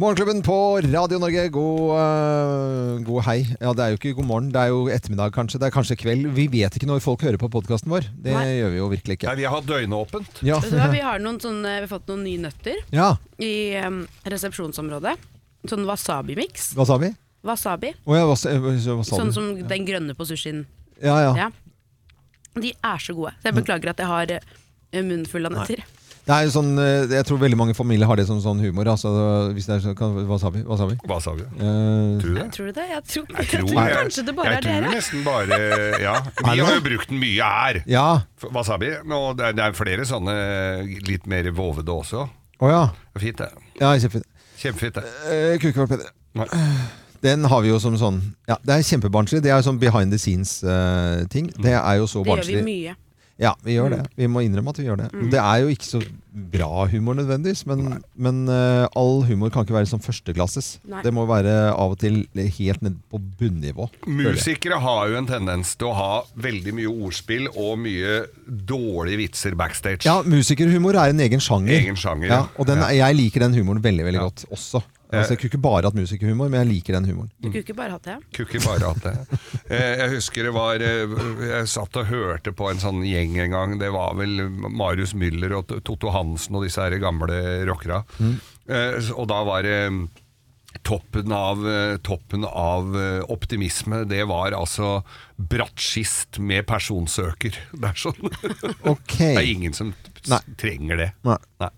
Morgenklubben på Radio Norge, god, øh, god hei. Ja, det er jo ikke god morgen, det er jo ettermiddag kanskje. Det er kanskje kveld. Vi vet ikke når folk hører på podkasten vår. Det Nei. gjør vi jo virkelig ikke. Nei, vi har hatt døgnåpent. Ja. Vet du hva, vi har, noen sånne, vi har fått noen nye nøtter ja. i em, resepsjonsområdet. Sånn wasabi-miks. Hva sa vi? Wasabi. Å ja, hva, sa- eh, hva sa Sånn du? som den grønne på sushien. Ja, ja. Ja. De er så gode. Mm. Så jeg beklager at jeg har eh, munnen full av nøtter. Det er jo sånn, øh, jeg tror veldig mange familier har det som sånn humor. Altså, hvis det er sånn, kan- hva sa vi? Hva sa vi? Hva sa du? Eh, Tror du det? Tror du det? Jeg tror, jeg tror tror, jeg- kanskje det bare jeg er dere. tror nesten bare Ja. Er Vi det har jo det? brukt den mye her. ja. F- Wasabi. Og det er, det er flere sånne litt mer vovede også. Å ja. Fint, det. ja kjempefint. Kjempefint, det. Eh, kunne ikke vært bedre. Nei. Den har vi jo som sånn ja, Det er kjempebarnslig. Det er jo sånn behind the scenes-ting. Mm. det er jo så Det gjør vi barnslig. mye. Ja, vi gjør det. Vi må innrømme at vi gjør det. Det er jo ikke så bra humor nødvendigvis, men, men eh, all humor kan ikke være som førsteklasses. Nei. Det må være av og til helt ned på bunnivå. føler jeg. Musikere har jo en tendens til å ha veldig mye ordspill og mye dårlige vitser backstage. Ja, musikerhumor er en egen sjanger. Egen sjanger, ja. ja. og den, jeg liker den humoren veldig veldig Ja. Eh. godt også. Altså, jeg kunne ikke bare hatt musikerhumor, men jeg liker den humoren. Du kunne ikke bare hatt det. Kukker bare at det. Eh, Jeg husker det var eh, Jeg satt og hørte på en sånn gjeng en gang. Det var vel Marius Müller og Totto Hansen og disse her gamle rockera. Mm. Eh, s- Og da var det mm, Toppen av, eh, toppen av eh, optimisme, det var altså brattskist med personsøker. Det er sånn. Ok. Det er ingen som s- Nei. trenger det. Nei. Nei.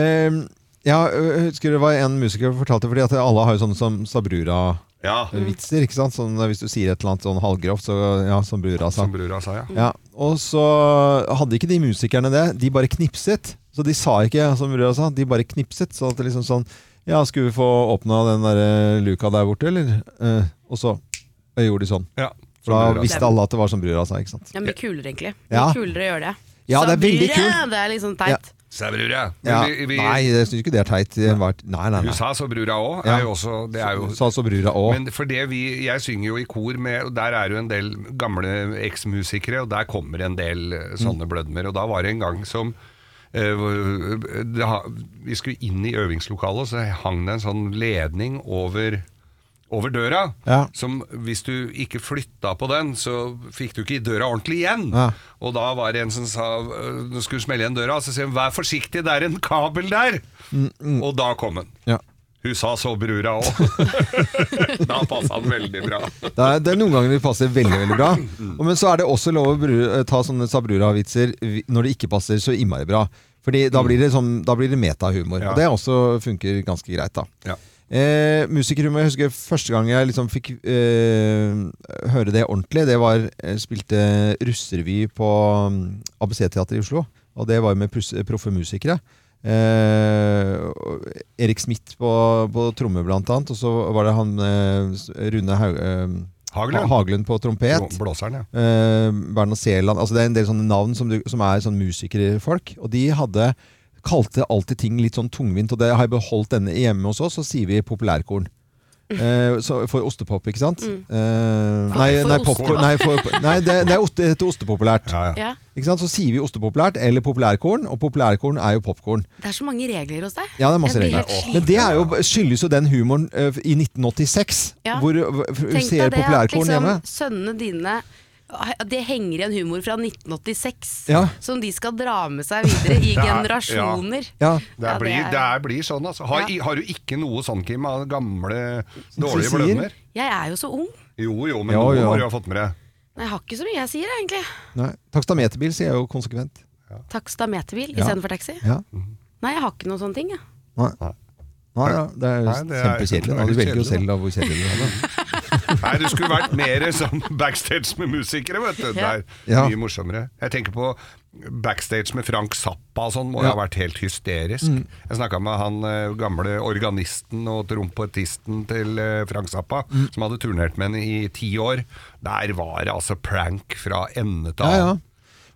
Ehm, ja, jeg husker det var en musiker som fortalte Fordi at alle har jo sånne som Sabrura-vitser. Ja, ikke sant? Sånn, hvis du sier et eller annet sånn halvgrovt, så ja, som Brura sa. som brura sa, ja. Ja, og så hadde ikke de musikerne det. De bare knipset. Så de sa ikke som Brura sa, de bare knipset. Så at det liksom sånn Ja, skulle vi få åpna den der eh, luka der borte, eller? Eh, og så eh, gjorde de sånn. ja. som For da brura sa. visste alle at det var som Brura sa, ikke sant. Det er mye kulere, egentlig. Mye Ja. kulere å gjøre det. Ja, det er veldig Sabrina, kult. Det er liksom teit. Sa brura. Ja. Men vi, vi, Nei, jeg syns ikke det er teit. Det var- Nei, nei, nei. USA så brura òg. Ja. er jo også Det er jo Sa så Brura òg. Men for det vi, jeg synger jo i kor med, og der er jo en del gamle eksmusikere, og der kommer en del Mm. eh, sånne blødmer. Og da var det en gang som eh, hvor- det, ha- Vi skulle inn i øvingslokalet, og så hang det en sånn ledning over over døra, Ja. som hvis du ikke flytta på den, så fikk du ikke døra ordentlig igjen. Ja. Og da var det en som sa øh, Du skulle smelle igjen døra, så sier hun 'vær forsiktig, det er en kabel der'. Mm, Og da kom den. Ja. Hun sa så brura òg. da passa han veldig bra. Det er, det er noen ganger de passer veldig veldig bra. Og, men så er det også lov å bru, eh, ta sånne Sabrura-vitser vi- når det ikke passer så innmari bra. Fordi da blir det, sånn, da blir det metahumor. Ja. Og det også funker ganske greit, da. Ja. Eh, musikerhumor, jeg husker første gang jeg liksom fikk eh, høre det ordentlig. Det var Jeg spilte russerevy på mm, ABC-teatret i Oslo. Og det var jo med pus- proffe musikere. Eh, og Erik Smith på, på tromme, blant annet. Og så var det han eh, s- Rune Haug... Eh, Hagelund. Hagelund på trompet. Blå- Blåseren, ja. Eh, Bernhard Seeland. Altså det er en del sånne navn som, du, som er sånn musikerfolk. Og de hadde kalte alltid ting litt sånn tungvint, og det har jeg beholdt denne hjemme hos oss. Så sier vi populærkorn. Eh, så for ostepop, ikke sant? Eh, nei, Mm. For nei, oste- popcorn, nei, for, nei, det, det er oste, det heter ostepopulært. Ja, ja. Ja. Ikke sant? Så sier vi ostepopulært eller populærkorn, og populærkorn er jo popkorn. Det er så mange regler hos deg. Ja, det er masse Jeg blir regler. helt Men det er jo, skyldes jo den humoren eh, i 1986, Ja. hvor hvor- hvor Tenk ser deg det, at populærkorn liksom, hjemme. sønnene dine at det henger igjen humor fra 1986 Ja. som de skal dra med seg videre i Det er- generasjoner. Ja. Det, Ja, det blir, er- det er, blir sånn, altså. Har, Ja. i- har du ikke noe sånn, Kim, av gamle, sier? dårlige blødmer? Jeg er jo så ung. Jo jo, men Jo, noe jo. må du ha fått med deg. Jeg har ikke så mye jeg sier, egentlig. Nei. Takstameterbil sier jeg jo konsekvent. Takstameterbil Ja. istedenfor taxi. Ja. Nei, jeg har ikke noen sånne ting. Jeg. Nei. Nei. Nei, ja, det er jo Nei, det er- kjempekjedelig. da. Du det velger er jo kjedelig, selv da hvor kjedelig du er. da. Nei, du skulle vært mer som backstage med musikere, vet du. Det er Ja. mye morsommere. Jeg tenker på backstage med Frank Zappa og sånn, må Ja. Mm. jo ha vært helt hysterisk. Jeg snakka med han eh, gamle organisten og trompettisten til eh, Frank Zappa, Mm. som hadde turnert med henne i ti år. Der var det altså prank fra ende til Ja, ja. annen.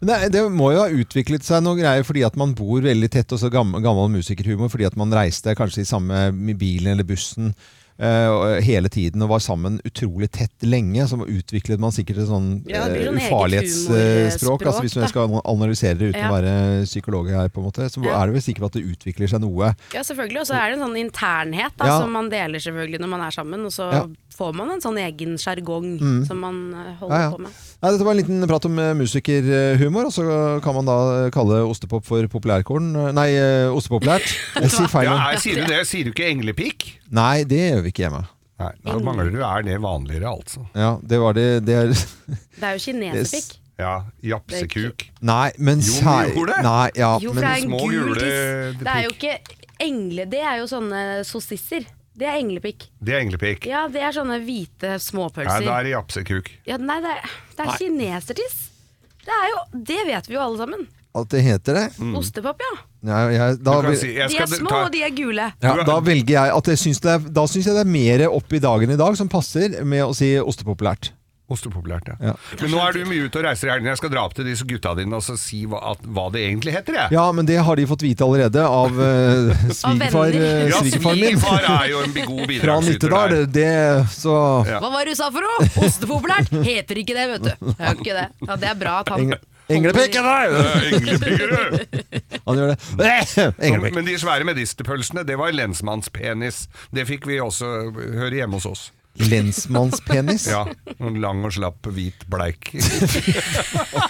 Men det, det må jo ha utviklet seg noen greier fordi at man bor veldig tett, og så gammel, gammel musikerhumor fordi at man reiste kanskje i samme med bilen eller bussen. eh, og hele tiden og var sammen utrolig tett lenge, så utviklet man sikkert et sånn Ja, det blir eh, sånn eget ufarlighetsspråk. humorspråk, Altså, hvis da. man skal analysere det uten Ja. å være psykolog her, på en måte, så Ja. er det vel sikkert at det utvikler seg noe. Ja, selvfølgelig. Og så er det en sånn internhet da, Ja. som man deler selvfølgelig når man er sammen. Og så Ja. Mm. får man en sånn egen sjargong som man eh, holder Ja, ja. på med. Nei, dette var en liten prat om eh, musikerhumor, og så kan man da kalle ostepop for populærkorn. Nei, eh, ostepopulært. Jeg sier feil. Ja, nå. er, sier du det? Sier du ikke englepikk? Nei, det gjør vi ikke hjemme. Nei, da mangler du er det vanligere, altså. Ja, det var det, det er, Det er jo kinesepikk. Ja, japsekuk. Nei, men Jo, sær- gjorde det. Nei, ja, Jo, for men, det er en små gul gule tiss. Det er jo pikk. ikke engle... Det er jo sånne sossisser. Det er englepikk. Det er englepikk. Ja, det er sånne hvite Nei, småpølser. da er det japsekuk. Ja, nei, det er, det er kinesertiss. Det er jo Det vet vi jo alle sammen. At det heter det? Ostepop, ja. Nei, jeg, da, Du kan vil- si, Mm. jeg De skal er små, ta- og de er gule. ja, da velger jeg at jeg syns det er, Da syns jeg det er mer opp i dagen i dag som passer med å si ostepopulært. Ostepopulært, ja. Ja. Men nå er du mye ute og reiser i helgen. Jeg skal dra opp til disse gutta dine og så si hva, at, hva det egentlig heter, jeg. Ja, men det har de fått vite allerede av eh, svigerfar, eh, Ja, svigerfaren min. svigerfar er jo en god Fra bidragsyter Nittedal. der. Det, det, så Ja. Hva var det du sa for noe? Ostepopulært? Heter ikke det, vet du. Det er jo ikke det. Ja, det er bra at han Eng- Englepikk! ja, nei! Eh, englepikker, du. Han gjør det. Eh, Englepikk. Men de svære medisterpølsene, det var lensmannspenis. Det fikk vi også høre hjemme hos oss. Lensmannspenis. Ja, en lang og slapp, hvit, bleik. Ja,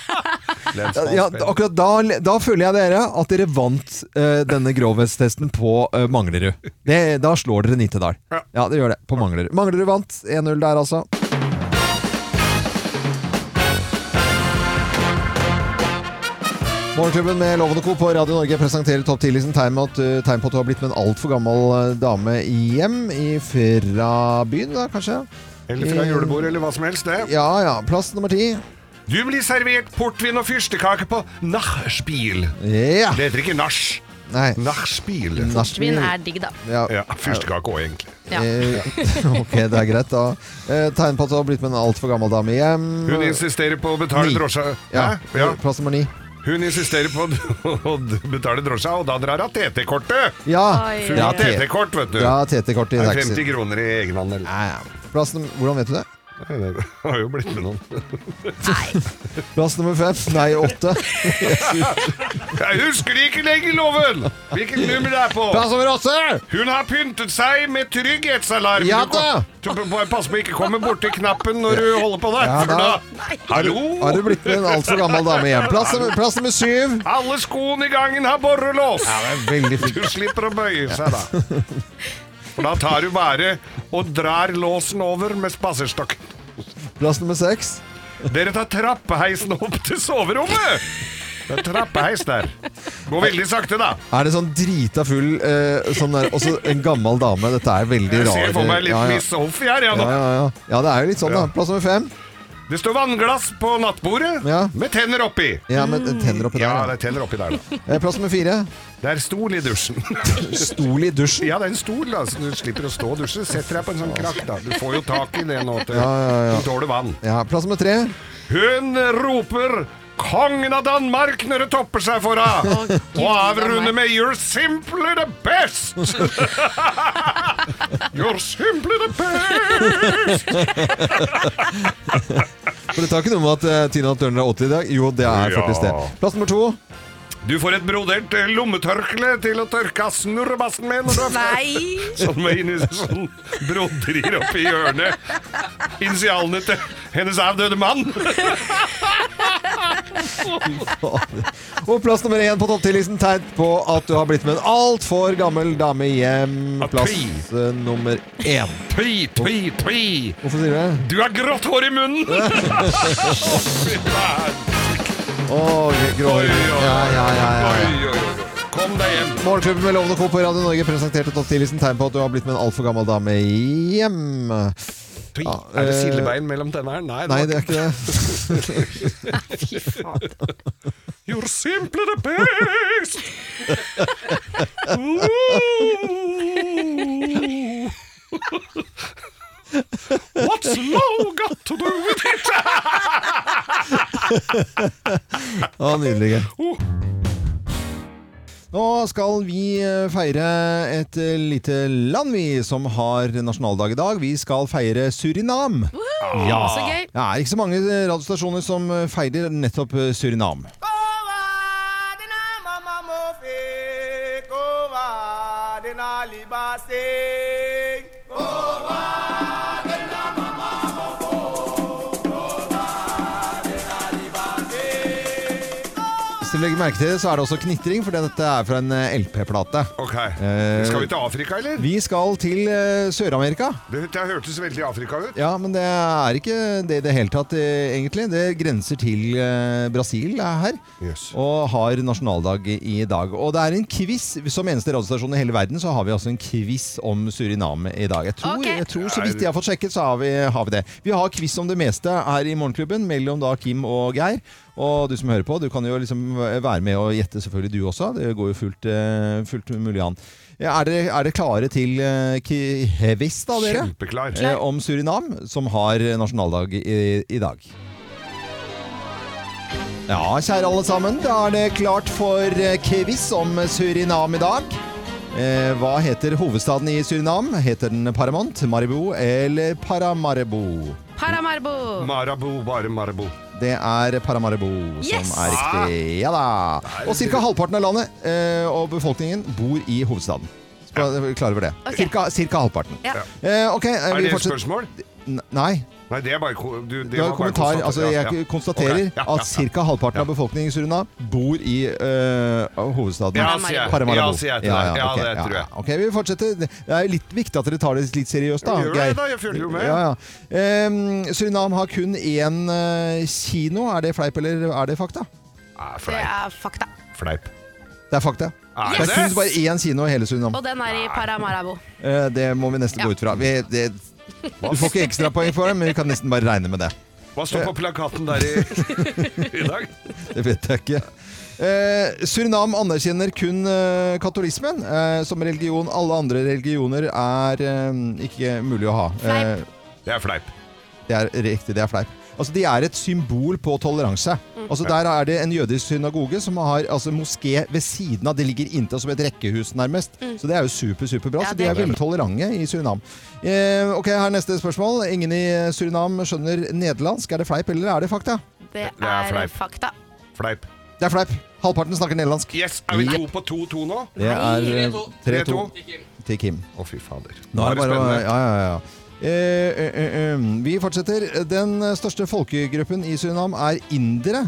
ja, Lensmannspenis. akkurat da, da føler jeg dere at dere vant eh, denne grovhetstesten på eh, Manglerud. Det, da slår dere Nittedal. Ja. Ja. det gjør det. På Manglerud. Manglerud vant 1-0 der, altså. Morgenklubben med Lovende Co. på Radio Norge presenterer topp 10-listen tegn, med at, eh, tegn på at du har blitt med en altfor gammel eh, dame hjem fra byen, da kanskje? Eller fra julebord, eller hva som helst, det. Ja ja. Plass nummer ti. Du blir servert portvin og fyrstekake på nachspiel. Ja. Det heter ikke nach. Nei. Nachspiel. Svin er digg, da. Ja. Ja, fyrstekake òg, egentlig. Ja. Eh, ok, det er greit da. Eh, tegn på at du har blitt med en altfor gammel dame hjem. Hun insisterer på å betale Mm. Ni. drosja. Ja, Hæ? Ja. Plass nummer ni. Hun insisterer på å betale drosja, og da drar hun TT-kortet! Ja! Oi. Hun har T- TT-kort, vet du. ja TT-kort i Det er taxi. 50 kroner i egenhandel. Ja, ja. Plass nummer, hvordan vet du det? Nei, Det har jo blitt med noen. Plass nummer fem. Nei, åtte. Jeg husker det ikke lenger, Loven! Hvilket nummer det er på! Plass nummer åtte! Hun har pyntet seg med trygghetsalarm. Ja Du kom- da. Du b- bare Pass på ikke komme borti knappen når du holder på der. Ja for da. da. Hallo! Har du blitt med en altfor gammel dame hjem? Plass nummer, plass nummer syv. Alle skoene i gangen har borrelås! Ja, det er veldig fint. Du slipper å bøye seg, da. For da tar du bare og drar låsen over med spaserstokken. Plass nummer seks. Dere tar trappeheisen opp til soverommet! Det er trappeheis der. Går veldig sakte, da. Er det sånn drita full eh, sånn der, Også en gammel dame. Dette er veldig Jeg rart. ser for meg litt ja, ja. Miss Sophie her, ja, Ja, nå. ja, ja. ja, det er jo litt sånn, da. Plass nummer fem. Det står vannglass på nattbordet Ja. med tenner oppi. Ja, med tenner oppi Ja, der. det er tenner oppi der, da. ja. Eh, Plass nummer fire. Det er stol i dusjen. Stol i dusjen. Ja, det er en stol, da, så du slipper å stå og dusje. Setter deg på en sånn krakk, da. Du får jo tak i det nå. til- Du tåler vann. Ja, plass nummer tre. Hun roper 'Kongen av Danmark' når det topper seg for henne! Og avrunder med 'You're simply the best'! You're simply the best! For det tar ikke noe med at eh, Tina Turner er 80 i dag. Jo, det er Ja. faktisk det. Plass nummer to. Du får et brodert eh, lommetørkle til å tørke av snurrebassen med når du er ferdig. Nei! Sånn med inni sånn broderier oppi hjørnet. Initialene til hennes avdøde mann. Og plass nummer én på topp 10-listen tegn på at du har blitt med en altfor gammel dame hjem. Ah, Plass tvi. eh, nummer én. Tvi, tvi, tvi. Hvorfor sier du det? Du har grått hår i munnen! Å, fy faen. Å, grå Oi, oi, oi. Ja, ja, ja. ja, ja. Oi, oi, oi. Kom deg hjem. Morgenklubben med Lovende Co. på Radio Norge presenterte topp 10-listen tegn på at du har blitt med en altfor gammel dame hjem. Ja, er det eh, sildebein mellom tennene? Nei, Nei, det er ikke det. Fy faen. You're simply the best! Oh. Ooh. What's love got to do with it? Å, nydelig. Oh. Nå skal vi eh, feire et eh, lite land, vi, som har nasjonaldag i dag. Vi skal feire Surinam. Ah! Ja. Så gøy. Det er ikke så mange eh, radiostasjoner som eh, feirer nettopp eh, Surinam. Hvis du legger merke til det, så er det også knitring, for dette er fra en eh, LP-plate. Ok. Eh, Skal vi til Afrika, eller? Vi skal til eh, Sør-Amerika. Det, det hørtes veldig Afrika ut. Ja, men det er ikke det i det hele tatt, eh, egentlig. Det grenser til eh, Brasil eh, her, Yes. og har nasjonaldag i dag. Og det er en quiz. Som eneste radiostasjon i hele verden så har vi altså en quiz om Suriname i dag. Jeg tror, Ok. jeg tror så vidt jeg har fått sjekket, så har vi, har vi det. Vi har quiz om det meste her i Morgenklubben, mellom da Kim og Geir. Og du som hører på, du kan jo liksom være med og gjette, selvfølgelig du også. Det går jo fullt, eh, fullt mulig an. Er dere, er dere klare til eh, quiz, da, dere? Kjempeklar. eh, om Surinam, som har nasjonaldag i, i dag. Ja, kjære alle sammen, da er det klart for eh, quiz om Surinam i dag. Eh, hva heter hovedstaden i Surinam? Heter den Paramount, Maribo eller Paramaribo? Paramarbo. Marabou, bare Marabou. Det er Paramaribo Yes! som er riktig. Ja da! Og ca. halvparten av landet eh, og befolkningen bor i hovedstaden. Skal- Klarer vi det? Ok. Cirka, cirka halvparten. Ja. Ja. Eh, ok, eh, Er vi det et fortsetter. spørsmål? N- Nei. Nei, det er bare ko- du, det Det var en var bare kommentar. konstater- Altså, ja, jeg ja. konstaterer Ok, ja, ja, at ca. halvparten av befolkningen i Surinam bor i øh, hovedstaden. Ja, sier jeg. Paramaribo. Ja, sier jeg til deg. Ja, ok, det tror jeg. Ok, Vi fortsetter. Det er jo litt viktig at dere tar det litt seriøst, da. Ja, gjør det Geir. da, jeg følger jo med. Ja, ja. Ehm, Surinam har kun én øh, kino. Er det fleip, eller er det fakta? Ja, Det fleip. er fakta. fleip. Det er fakta. Er Det det? er kun bare én kino i hele Surinam. Og den er i Paramarabo. Eh, det må vi nesten Ja. gå ut fra. Vi, det, du får ikke ekstrapoeng for det, men vi kan nesten bare regne med det. Hva står på plakaten der i, i dag? Det vet jeg ikke. Eh, Surinam anerkjenner kun eh, katolismen eh, som religion. Alle andre religioner er eh, ikke mulig å ha. Fleip. Eh, Det er fleip. det er riktig, det er fleip. Altså, de er et symbol på toleranse. Mm. Altså, der er det en jødisk synagoge som har altså, moské ved siden av. Det ligger inntil som et rekkehus, nærmest. Så det er jo super, superbra. Mm. Ja, så det de er er veldig tolerante i Surinam. Eh, ok, her er neste spørsmål. Ingen i Surinam skjønner nederlandsk. Er det fleip, eller er det fakta? Det er er fleip. fakta. Fleip. Det er fleip. Halvparten snakker nederlandsk. Yes, er vi to på to-to nå? Å, Det er eh, 3-2 3-2. til Kim. fy fader. Nå er det bare, å- spennende. ja, ja, ja. Eh, eh, eh, eh, vi fortsetter. Den største folkegruppen i Surinam er indere.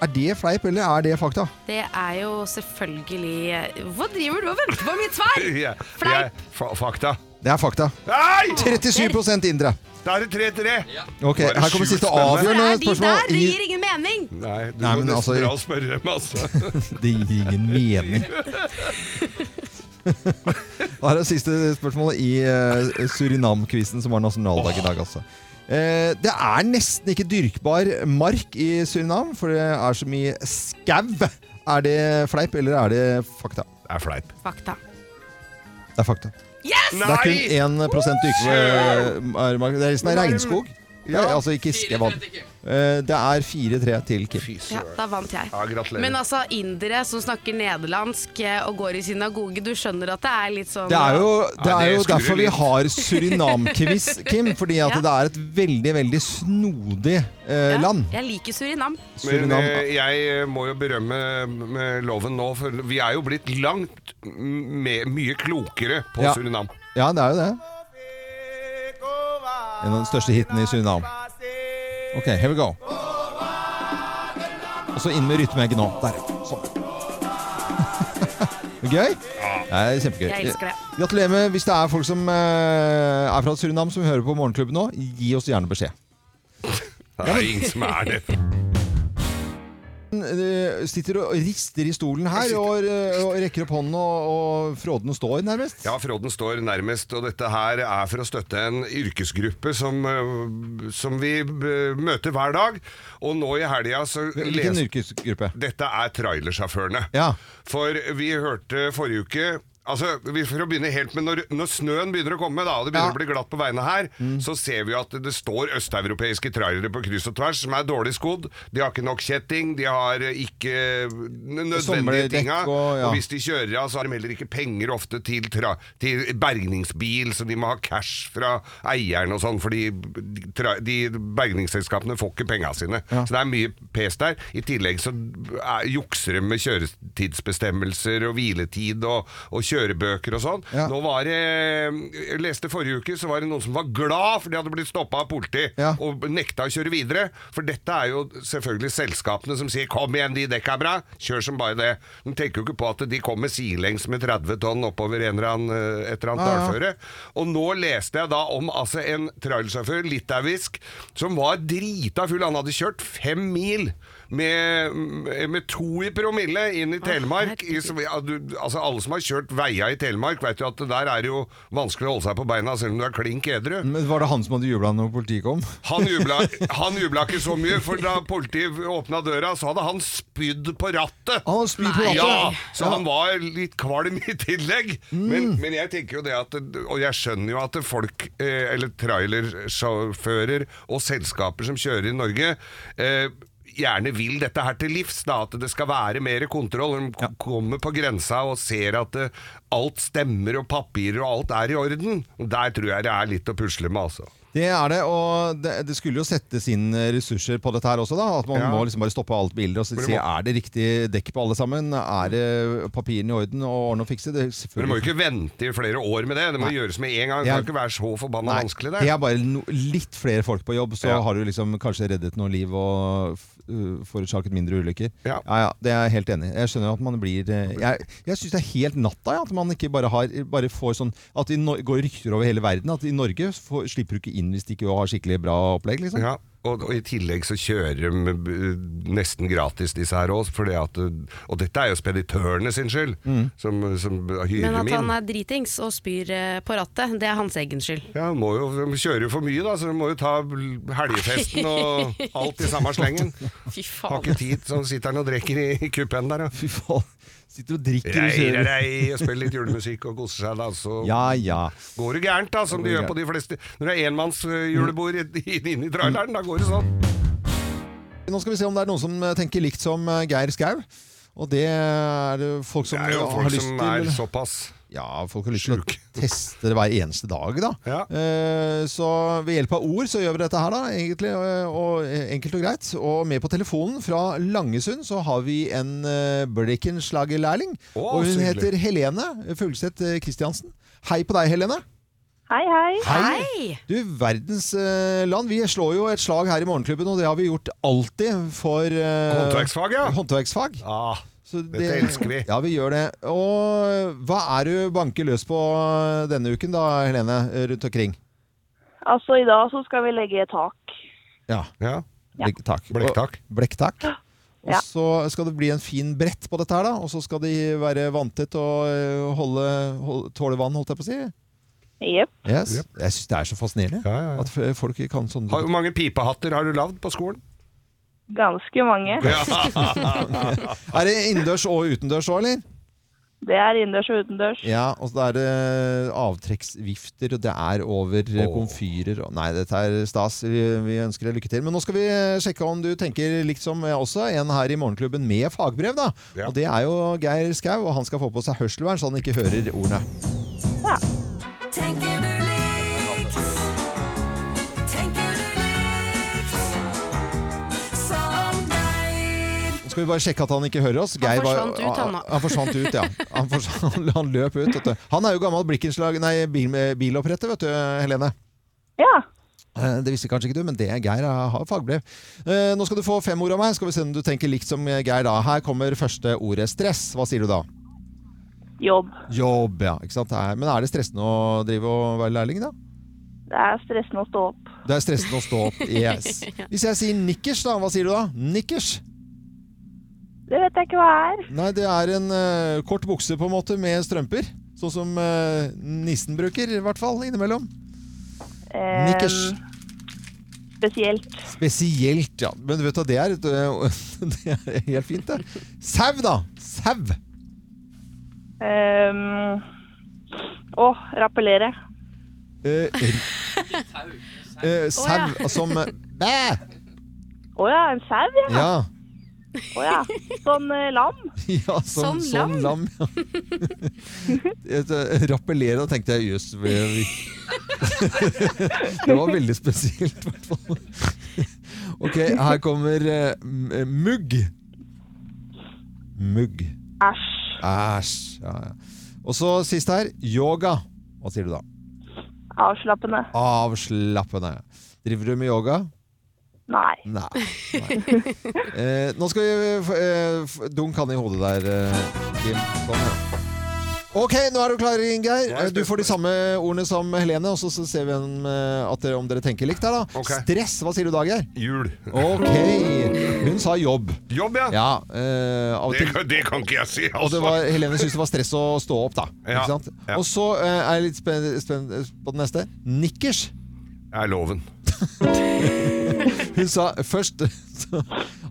Er det fleip, eller er det fakta? Det er jo selvfølgelig Hva driver du og venter på mitt svar?! Ja, Fleip. jeg- fa- fakta. Det er fakta. Nei! 37 indere. Da er det 3-3. Ok, Bare Her kommer sjukt siste spennende. Hvor avgjørende er de der? spørsmål. Det I, gir ingen mening! Nei, du Nei, må men nesten altså- dra og spørre dem, altså. det gir ingen mening. Her er siste spørsmål i eh, Surinam-quizen, som var nasjonaldag i dag, altså. Eh, det er nesten ikke dyrkbar mark i Surinam, for det er så mye skau. Er det fleip, eller er det fakta? Det er fleip. Fakta. Det er fakta. Yes! Det er Nei! kun 1 dyrkemark. eh, Det er resten er regnskog. Det er, Ja. altså ikke skrevann. Eh, Det er 4-3 til Kim. Fy Ja, søren. da vant jeg. Ja, gratulerer. Men altså, indere som snakker nederlandsk eh, og går i synagoge, du skjønner at det er litt sånn Det er jo, det Ja, er det jo skrur derfor vi litt. har Surinam-quiz, Kim. Fordi at Ja. det er et veldig, veldig snodig eh, Ja, land. Jeg liker Surinam. Men Surinam eh, jeg må jo berømme eh, loven nå, for vi er jo blitt langt m- me- mye klokere på Ja. Surinam. Ja, det er jo det. En av de er største hitene i Surinam. Ok, here we go. Og så inn med rytmeegget nå. Der. Sånn. Gøy? Det er kjempegøy. Jeg elsker det. Gratulerer med hvis det er folk som eh, er fra Surinam som hører på Morgenklubben nå. Gi oss gjerne beskjed. Det er ingen som er det. Eh, Sitter og rister i stolen her og, eh, og rekker opp hånden, og, og fråden står nærmest. Ja, Fråden står nærmest, og dette her er for å støtte en yrkesgruppe som, eh, som vi eh, møter hver dag. Og nå i helga så Hvilken leste yrkesgruppe? Dette er trailersjåførene. Ja. For vi hørte forrige uke Altså, vi- For å begynne helt med når, når snøen begynner å komme, da, og det begynner Ja. Mm. å bli glatt på veiene her, så ser vi jo at det står østeuropeiske trailere på kryss og tvers som er dårlig skodd. De har ikke nok kjetting, de har eh, ikke n- nødvendige Sommerdekk tinga. og- ja. Og hvis de kjører av, så har de heller ikke penger ofte til, tra til bergningsbil, så de må ha cash fra eieren og sånn, fordi tra de bergningsselskapene får ikke penga sine. Ja. Så det er mye pes der. I tillegg så er, jukser de med kjøretidsbestemmelser og hviletid og, og kjørebøker og sånn. Ja. Nå var det eh, Jeg leste forrige uke, så var det noen som var glad for de hadde blitt stoppa av politi Ja. og nekta å kjøre videre. For dette er jo selvfølgelig selskapene som sier 'kom igjen, de dekka er bra, kjør som bare det'. De tenker jo ikke på at de kommer sidelengs med 30 tonn oppover en eller annen, eh, et eller annet Ja, ja. dalføre. Og nå leste jeg da om altså, en trailersjåfør, litauisk, som var drita full. Han hadde kjørt fem mil med, med to i promille inn i Telemark. I, herregud. ja, du, altså, alle som har kjørt veia i Telemark, vet jo at det der er jo vanskelig å holde seg på beina selv om du er klink edru. Men Var det han som hadde jubla når politiet kom? Han jubla, han jubla ikke så mye, for da politiet åpna døra, så hadde han spydd på rattet. Han hadde spydd på Nei. rattet! Ja, Rattet. så han var litt kvalm i tillegg. Mm. Men, men jeg tenker jo det at Og jeg skjønner jo at folk, eh, eller trailersjåfører og selskaper som kjører i Norge eh, Gjerne vil dette her til livs, da, at det skal være mer kontroll. De k- kommer på grensa og ser at eh, alt stemmer og papirer og alt er i orden. Og Der tror jeg det er litt å pusle med, altså. Det er det, og det, det skulle jo settes inn ressurser på dette her også, da. At man Ja. må liksom bare stoppe alt biler og se Men det se, må- er det riktig dekk på alle sammen. Er det papirene i orden og ordne og fikse? Det, Men du må jo ikke vente i flere år med det. Det må gjøres med en gang. Det Jeg- kan ikke være så forbanna Nei, vanskelig, det. det er bare no, litt flere folk på jobb, så Ja. har du liksom kanskje reddet noen liv og f- uh, forårsaket mindre ulykker. Ja. ja, det er jeg helt enig i. Jeg skjønner at man blir eh, Jeg, jeg syns det er helt natta ja, at man ikke bare, har, bare får sånn At det no- går rykter over hele verden. At i Norge får, slipper du ikke inn hvis de ikke har skikkelig bra opplegg, liksom. Ja, og, og i tillegg så kjører de eh, nesten gratis disse her òg, fordi at eh, Og dette er jo speditørene sin skyld, Mm. som, som hyrer Men at dem han inn. er dritings og spyr eh, på rattet, det er hans egen skyld. Ja, de må jo, De kjører jo for mye, da, så de må jo ta helgefesten og alt i samme slengen. Fy faen. Har ikke tid, så sitter han og drikker i, i kuppen der, da. Fy faen. Sitter og drikker Rei, og kjører. rei, og spiller litt julemusikk og koser seg, da. Så Ja, ja. går det gærent, da, som det gjør på de fleste Når det er enmannsjulebord inni traileren, da går det sånn. Nå skal vi se om det er noen som eh, tenker likt som eh, Geir Skau. Og det er det folk som eh, Det er jo har folk lyst som til er såpass Ja, folk har lyst til å Sjuk. teste det hver eneste dag, da. Ja. Eh, Så ved hjelp av ord så gjør vi dette her, da. Egentlig, eh, og, eh, enkelt og greit. Og med på telefonen fra Langesund så har vi en eh, Blikkenslager-lærling. Å, og hun så hyggelig. heter Helene Fugleseth eh, Christiansen. Hei på deg, Helene. Hei, hei. Hei! Du, verdens eh, land. Vi slår jo et slag her i Morgenklubben, og det har vi gjort alltid for eh, Håndverksfag, ja. håndverksfag. Ah, Så Dette elsker vi. Ja, vi gjør det. Og hva er du banker løs på eh, denne uken da, Helene, rundt omkring? Altså, i dag så skal vi legge tak. Ja, ja. blek, takk. Blekktak. Og- Blekktak. Og Ja. så skal det bli en fin brett på dette her, da. Og så skal de være vanntett og eh, holde, holde, tåle vann, holdt jeg på å si. Jepp. Yes. Yep. Jeg syns det er så fascinerende Ja, ja, ja. at f- folk kan sånne Har- Hvor mange pipehatter har du lagd på skolen? Ganske mange. Er det innendørs og utendørs òg, eller? Det er innendørs og utendørs. Ja, og så er det avtrekksvifter, og det er over eh, Åh. komfyrer og Nei, dette er stas. Vi, vi ønsker deg lykke til. Men nå skal vi sjekke om du tenker likt som jeg også, en her i Morgenklubben med fagbrev, da. Ja. Og det er jo Geir Skau, og han skal få på seg hørselvern så han ikke hører ordene. Ja. Tenker du likt? Tenker du likt? Som deg? Nå skal vi bare sjekke at han ikke hører oss. Geir var- forsvant ut, han da. Han forsvant ut, ja. Han, forsvant, han løp ut, vet du. Han er jo gammel blikkenslag... Nei, bil, biloppretter, vet du, Helene. ja. Eh, Det visste kanskje ikke du, men det er Geir eh, har fagbrev. Eh, Nå skal du få fem ord av meg. Skal vi se om du tenker likt som eh, Geir da. Her kommer første ordet stress. Hva sier du da? Jobb. Jobb, ja. Ikke sant? Det er- Men er det stressende å drive og være lærling, da? Det er stressende å stå opp. Det er stressende å stå opp. Yes. Hvis jeg sier nikkers, da, hva sier du da? Nikkers? Det vet jeg ikke hva er. Nei, det er en eh, kort bukse på en måte med strømper. Sånn som eh, nissen bruker, i hvert fall innimellom. Eh, Nikkers. Spesielt. Spesielt, ja. Men du vet at det er, et, eh, det er helt fint, det. Sau, da! Sau! Um, Å, rappellere. Eh, eh, Sau som eh, Bæ! Å ja, en sau, ja. Ja. Å ja. Sånn eh, lam. ja som, Som som lam. ja. Jeg eh, rappellerer og tenkte jeg jøss vi- Det var veldig spesielt, i hvert fall. Ok, her kommer eh, m- eh, mugg. Mugg. Æsj. Æsj. Ja, ja. Og så sist her, yoga. Hva sier du da? Avslappende. Avslappende. Driver du med yoga? Nei. Nei. Nei. Eh, nå skal vi eh, f- eh, f- Dunk han i hodet der, eh, Kim. Sånn, ja. Ok, nå er du klar, Ingeir. Eh, Du får de samme ordene som Helene, og så så ser vi om, eh, at dere, om dere tenker likt her, da. Ok. Stress. Hva sier du da, Geir? Jul. Ok. Hun sa jobb. Jobb, ja! Ja. Eh, av og Det, til kan- det kan ikke jeg si, og det altså. var, Helene syntes det var stress å stå opp, da. Ja, Ikke sant? ja. Og så eh, er jeg litt spent spent på den neste. Nikkers. er loven. Hun sa først så,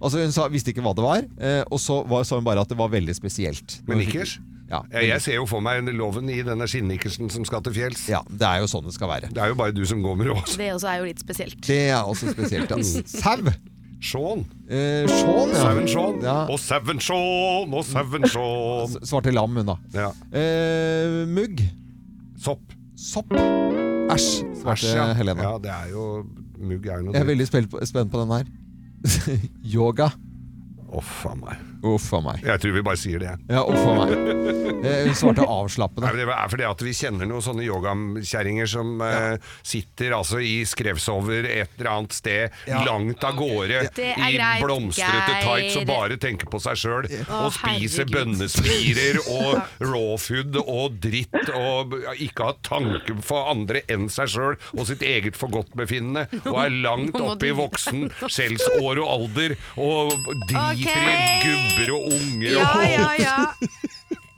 Altså Hun sa, visste ikke hva det var, eh, og så var, sa hun bare at det var veldig spesielt. Men nikkers? Ja, Ja, Jeg ser jo for meg loven i denne skinnikersen som skal til fjells. ja, det er jo sånn det skal være. Det er jo bare du som går med rås. Det også er jo litt spesielt. Det er også spesielt. Ja. Sau! Sean. Eh, Sean, ja. Sauen Sean. Ja. Og sauen Sean, og sauen Sean. S- Svarte lam, hun, da. Ja. Eh, mugg. Sopp. Sopp. Æsj, svarte Æsj, ja. Helene. Ja, det er jo mugg er jo noe Jeg er dritt. veldig spent på, spent på den her. Yoga. Å, faen meg. Uff a meg. Jeg tror vi bare sier det. jeg. Ja, uff a meg. Eh, Hun svarte Nei, avslappende. men Det er fordi at vi kjenner noen sånne yogakjerringer som eh, sitter altså i skrevsover et eller annet sted Ja. langt av gårde Det er i greit, blomstrete Geir. tights og bare tenker på seg sjøl. Og spiser herregud. bønnespirer og raw food og dritt og b- ikke har tanke for andre enn seg sjøl og sitt eget forgodtbefinnende. Og er langt nå må oppe i du- voksen skjellsår og alder og driter i Ok. gubber og unger Ja, og, ja, ja.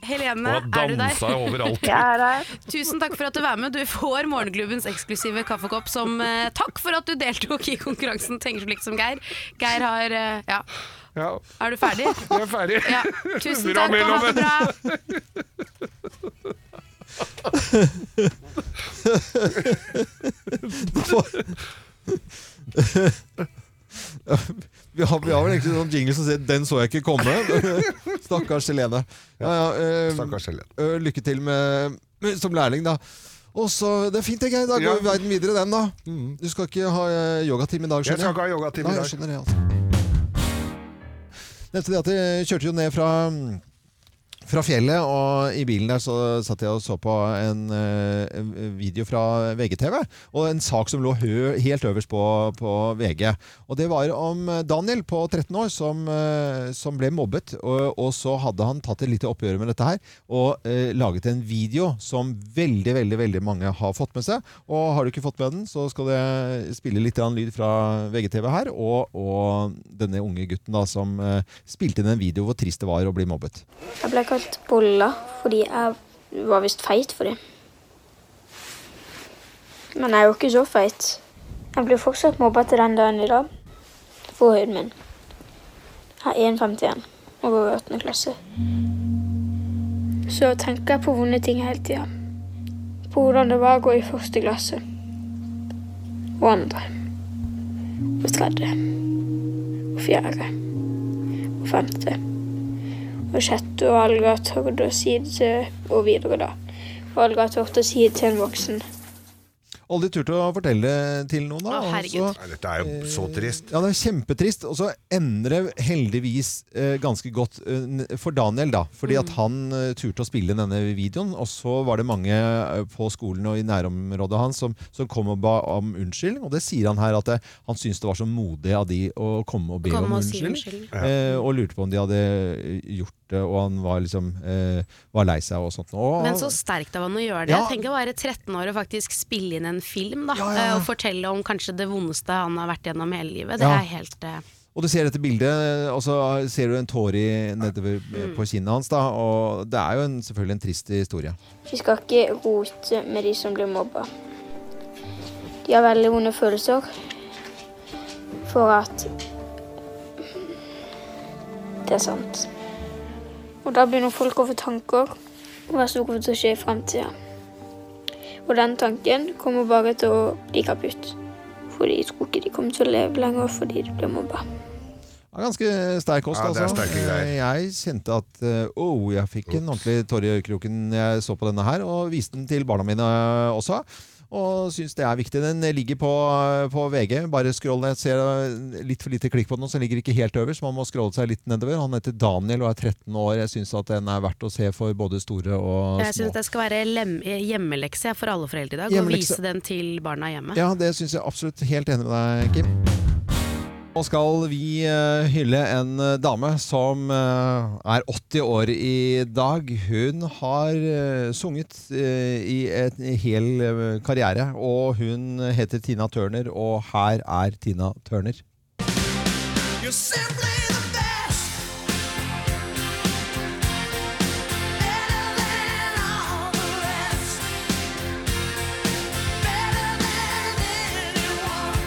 Helene, og er du har dansa der? overalt. Jeg er her. Tusen takk for at du var med. Du får Morgenklubbens eksklusive kaffekopp som eh, takk for at du deltok i konkurransen Tenker så likt som Geir. Geir har eh, Ja, Ja. er du ferdig? Vi er ferdig. Ja. Tusen Bra takk, og ha mellom- det bra. Vi har, vi har vel egentlig sånn jingle som sier 'den så jeg ikke komme'. Stakkars Helene. Ja, ja, eh, Stakkars Helene. eh, lykke til med, med, som lærling, da. Og så, Det er fint, jeg. Da går Ja. Mm. verden videre, den, da. Du skal ikke ha eh, yogatime i dag, Jeg skjønner skal ikke ha yogatime Nei, i jeg dag. skjønner det, altså. Nevnte det at jeg kjørte jo ned fra fra fjellet, og i bilen der så satt jeg og så på en eh, video fra VGTV, og en sak som lå hø helt øverst på, på VG. Og det var om eh, Daniel på 13 år som, eh, som ble mobbet, og, og så hadde han tatt et lite oppgjør med dette her, og eh, laget en video som veldig, veldig, veldig mange har fått med seg. Og har du ikke fått med den, så skal det spille litt grann lyd fra VGTV her, og, og denne unge gutten da, som eh, spilte inn en video hvor trist det var å bli mobbet. Jeg ble kalt bolla fordi jeg var visst feit for det. Men jeg er jo ikke så feit. Jeg blir fortsatt mobba til den dagen i dag for høyden min. Jeg er 1,51 og går i 8. klasse. Så tenker jeg på vonde ting hele tida. På hvordan det var å gå i første klasse. Og andre. Og tredje. Og fjerde. Og femte og sjette og Alga tørde å si det til og videre da. Og Alga tørte å si det til en voksen. Aldri turte å fortelle det til noen, da. Å, og herregud. så- Nei, dette er Eh, jo så trist. Ja, det er kjempetrist. Og så ender det heldigvis eh, ganske godt eh, n- for Daniel, da. Fordi Mm. at han eh, turte å spille denne videoen. Og så var det mange eh, på skolen og i nærområdet hans som, som kom og ba om unnskyldning. Og det sier han her, at eh, han syntes det var så modig av de å komme og be Kom om og si unnskyldning. unnskyld. Eh, og lurte på om de hadde eh, gjort det, og han var liksom eh, var lei seg og sånt. Og, Men så sterkt av han å gjøre det. Ja. Jeg tenker å være 13 år og faktisk spille inn en film da, Ja, ja, ja. eh, og fortelle om kanskje det vondeste han har vært gjennom hele livet. Det Ja. er helt eh, Og du ser dette bildet, eh, og så ser du en tåre i- nedover eh, Mm. på kinnet hans. da, og Det er jo en, selvfølgelig en trist historie. Vi skal ikke rote med de som blir mobba. De har veldig vonde følelser for at det er sant. Og da begynner folk å få tanker om hva som kommer til å skje i fremtida. Og den tanken kommer bare til å bli kaputt. Fordi jeg tror ikke de kommer til å leve lenger fordi de blir mobba. Ja, ganske sterk kost, Ja, det er altså. sterke greier. Eh, Jeg kjente at eh, oh, jeg fikk en ordentlig tåre i øyekroken jeg så på denne her, og viste den til barna mine eh, også. Og syns det er viktig. Den ligger på, eh, på VG. Bare scroll ned. Ser eh, litt for lite klikk på den, så den ligger ikke helt øverst. Man må scrolle seg litt nedover. Han heter Daniel og er 13 år. Jeg syns at den er verdt å se for både store og Jeg små. syns det skal være lem hjemmelekse for alle foreldre i dag. Å Hjemmelekse. vise den til barna hjemme. Ja, det syns jeg absolutt. Helt enig med deg, Kim. Nå skal vi eh, hylle en eh, dame som eh, er 80 år i dag. Hun har eh, sunget eh, i et- en hel eh, karriere, og hun heter Tina Turner, og her er Tina Turner. You're simply the best. Better than all the rest. Better than anyone.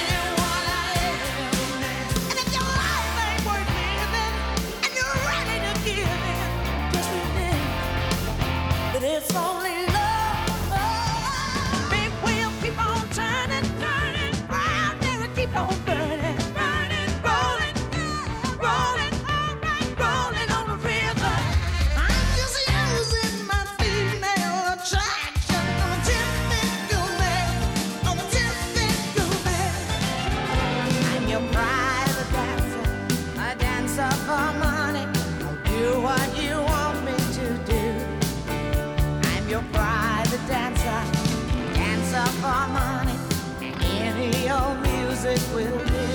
Anyone I ever met. And if your life ain't worth living, and you're ready to give in, just remember that it's only love. Big wheel keep on turning, turning, round and it keep on burning, burning, rolling, rolling, alright, rolling on the river. I'm just using my female attraction. I'm a typical man. I'm a typical man. I'm your private dancer, a dancer for money. I'll do what you want me to do. I'm your private dancer, dancer for money, and any old music will do.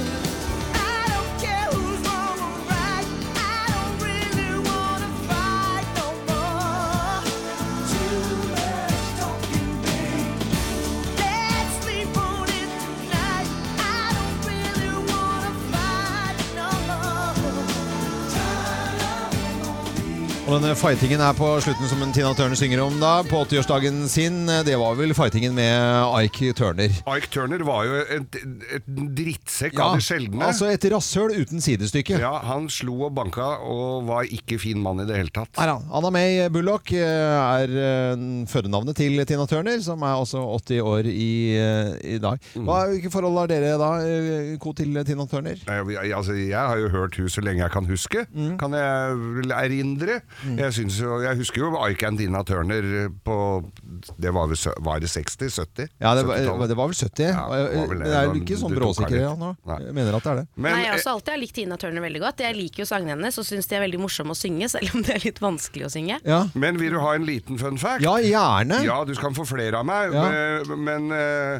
I don't care who's wrong or right, I don't really wanna fight no more. Too much talking, babe. Let's sleep on it tonight. I don't really wanna fight no more. Turn up on me. Og denne fightingen er på slutten som en Tina Turner synger om da, på 80-årsdagen sin. Det var vel fightingen med Ike Turner. Ike Turner var jo et, et drittsekk av de sjeldne. altså et rasshøl uten sidestykke. ja, han slo og banka og var ikke fin mann i det hele tatt. Neida, Anna May Bullock eh, er eh, fødenavnet til Tina Turner, som er også 80 år i, eh, i dag. Mm. Hva, hvilke forhold har dere da, eh, Co, til Tina Turner? Nei, vi- Altså, jeg har jo hørt hun så lenge jeg kan huske. Mm. Kan jeg vel erindre? Jeg, synes jo, jeg husker jo Ike and Tina Turner på Det var, vel, sø- var det 60? 70? Ja, det, var- 70-tallet. det var vel 70? Ja, det var vel det. det er jo ikke Du sånn tok her bråsikre litt. ja, nå. Nei. Jeg mener at det er det. Men, Nei, altså- jeg har eh, også alltid har likt Tina Turner veldig godt. Jeg liker jo sangene hennes og syns de er veldig morsomme å synge, selv om det er litt vanskelig å synge. Ja, eh, men vil du ha en liten fun fact? ja gjerne. Ja, du kan få flere av meg, Ja. eh, men eh,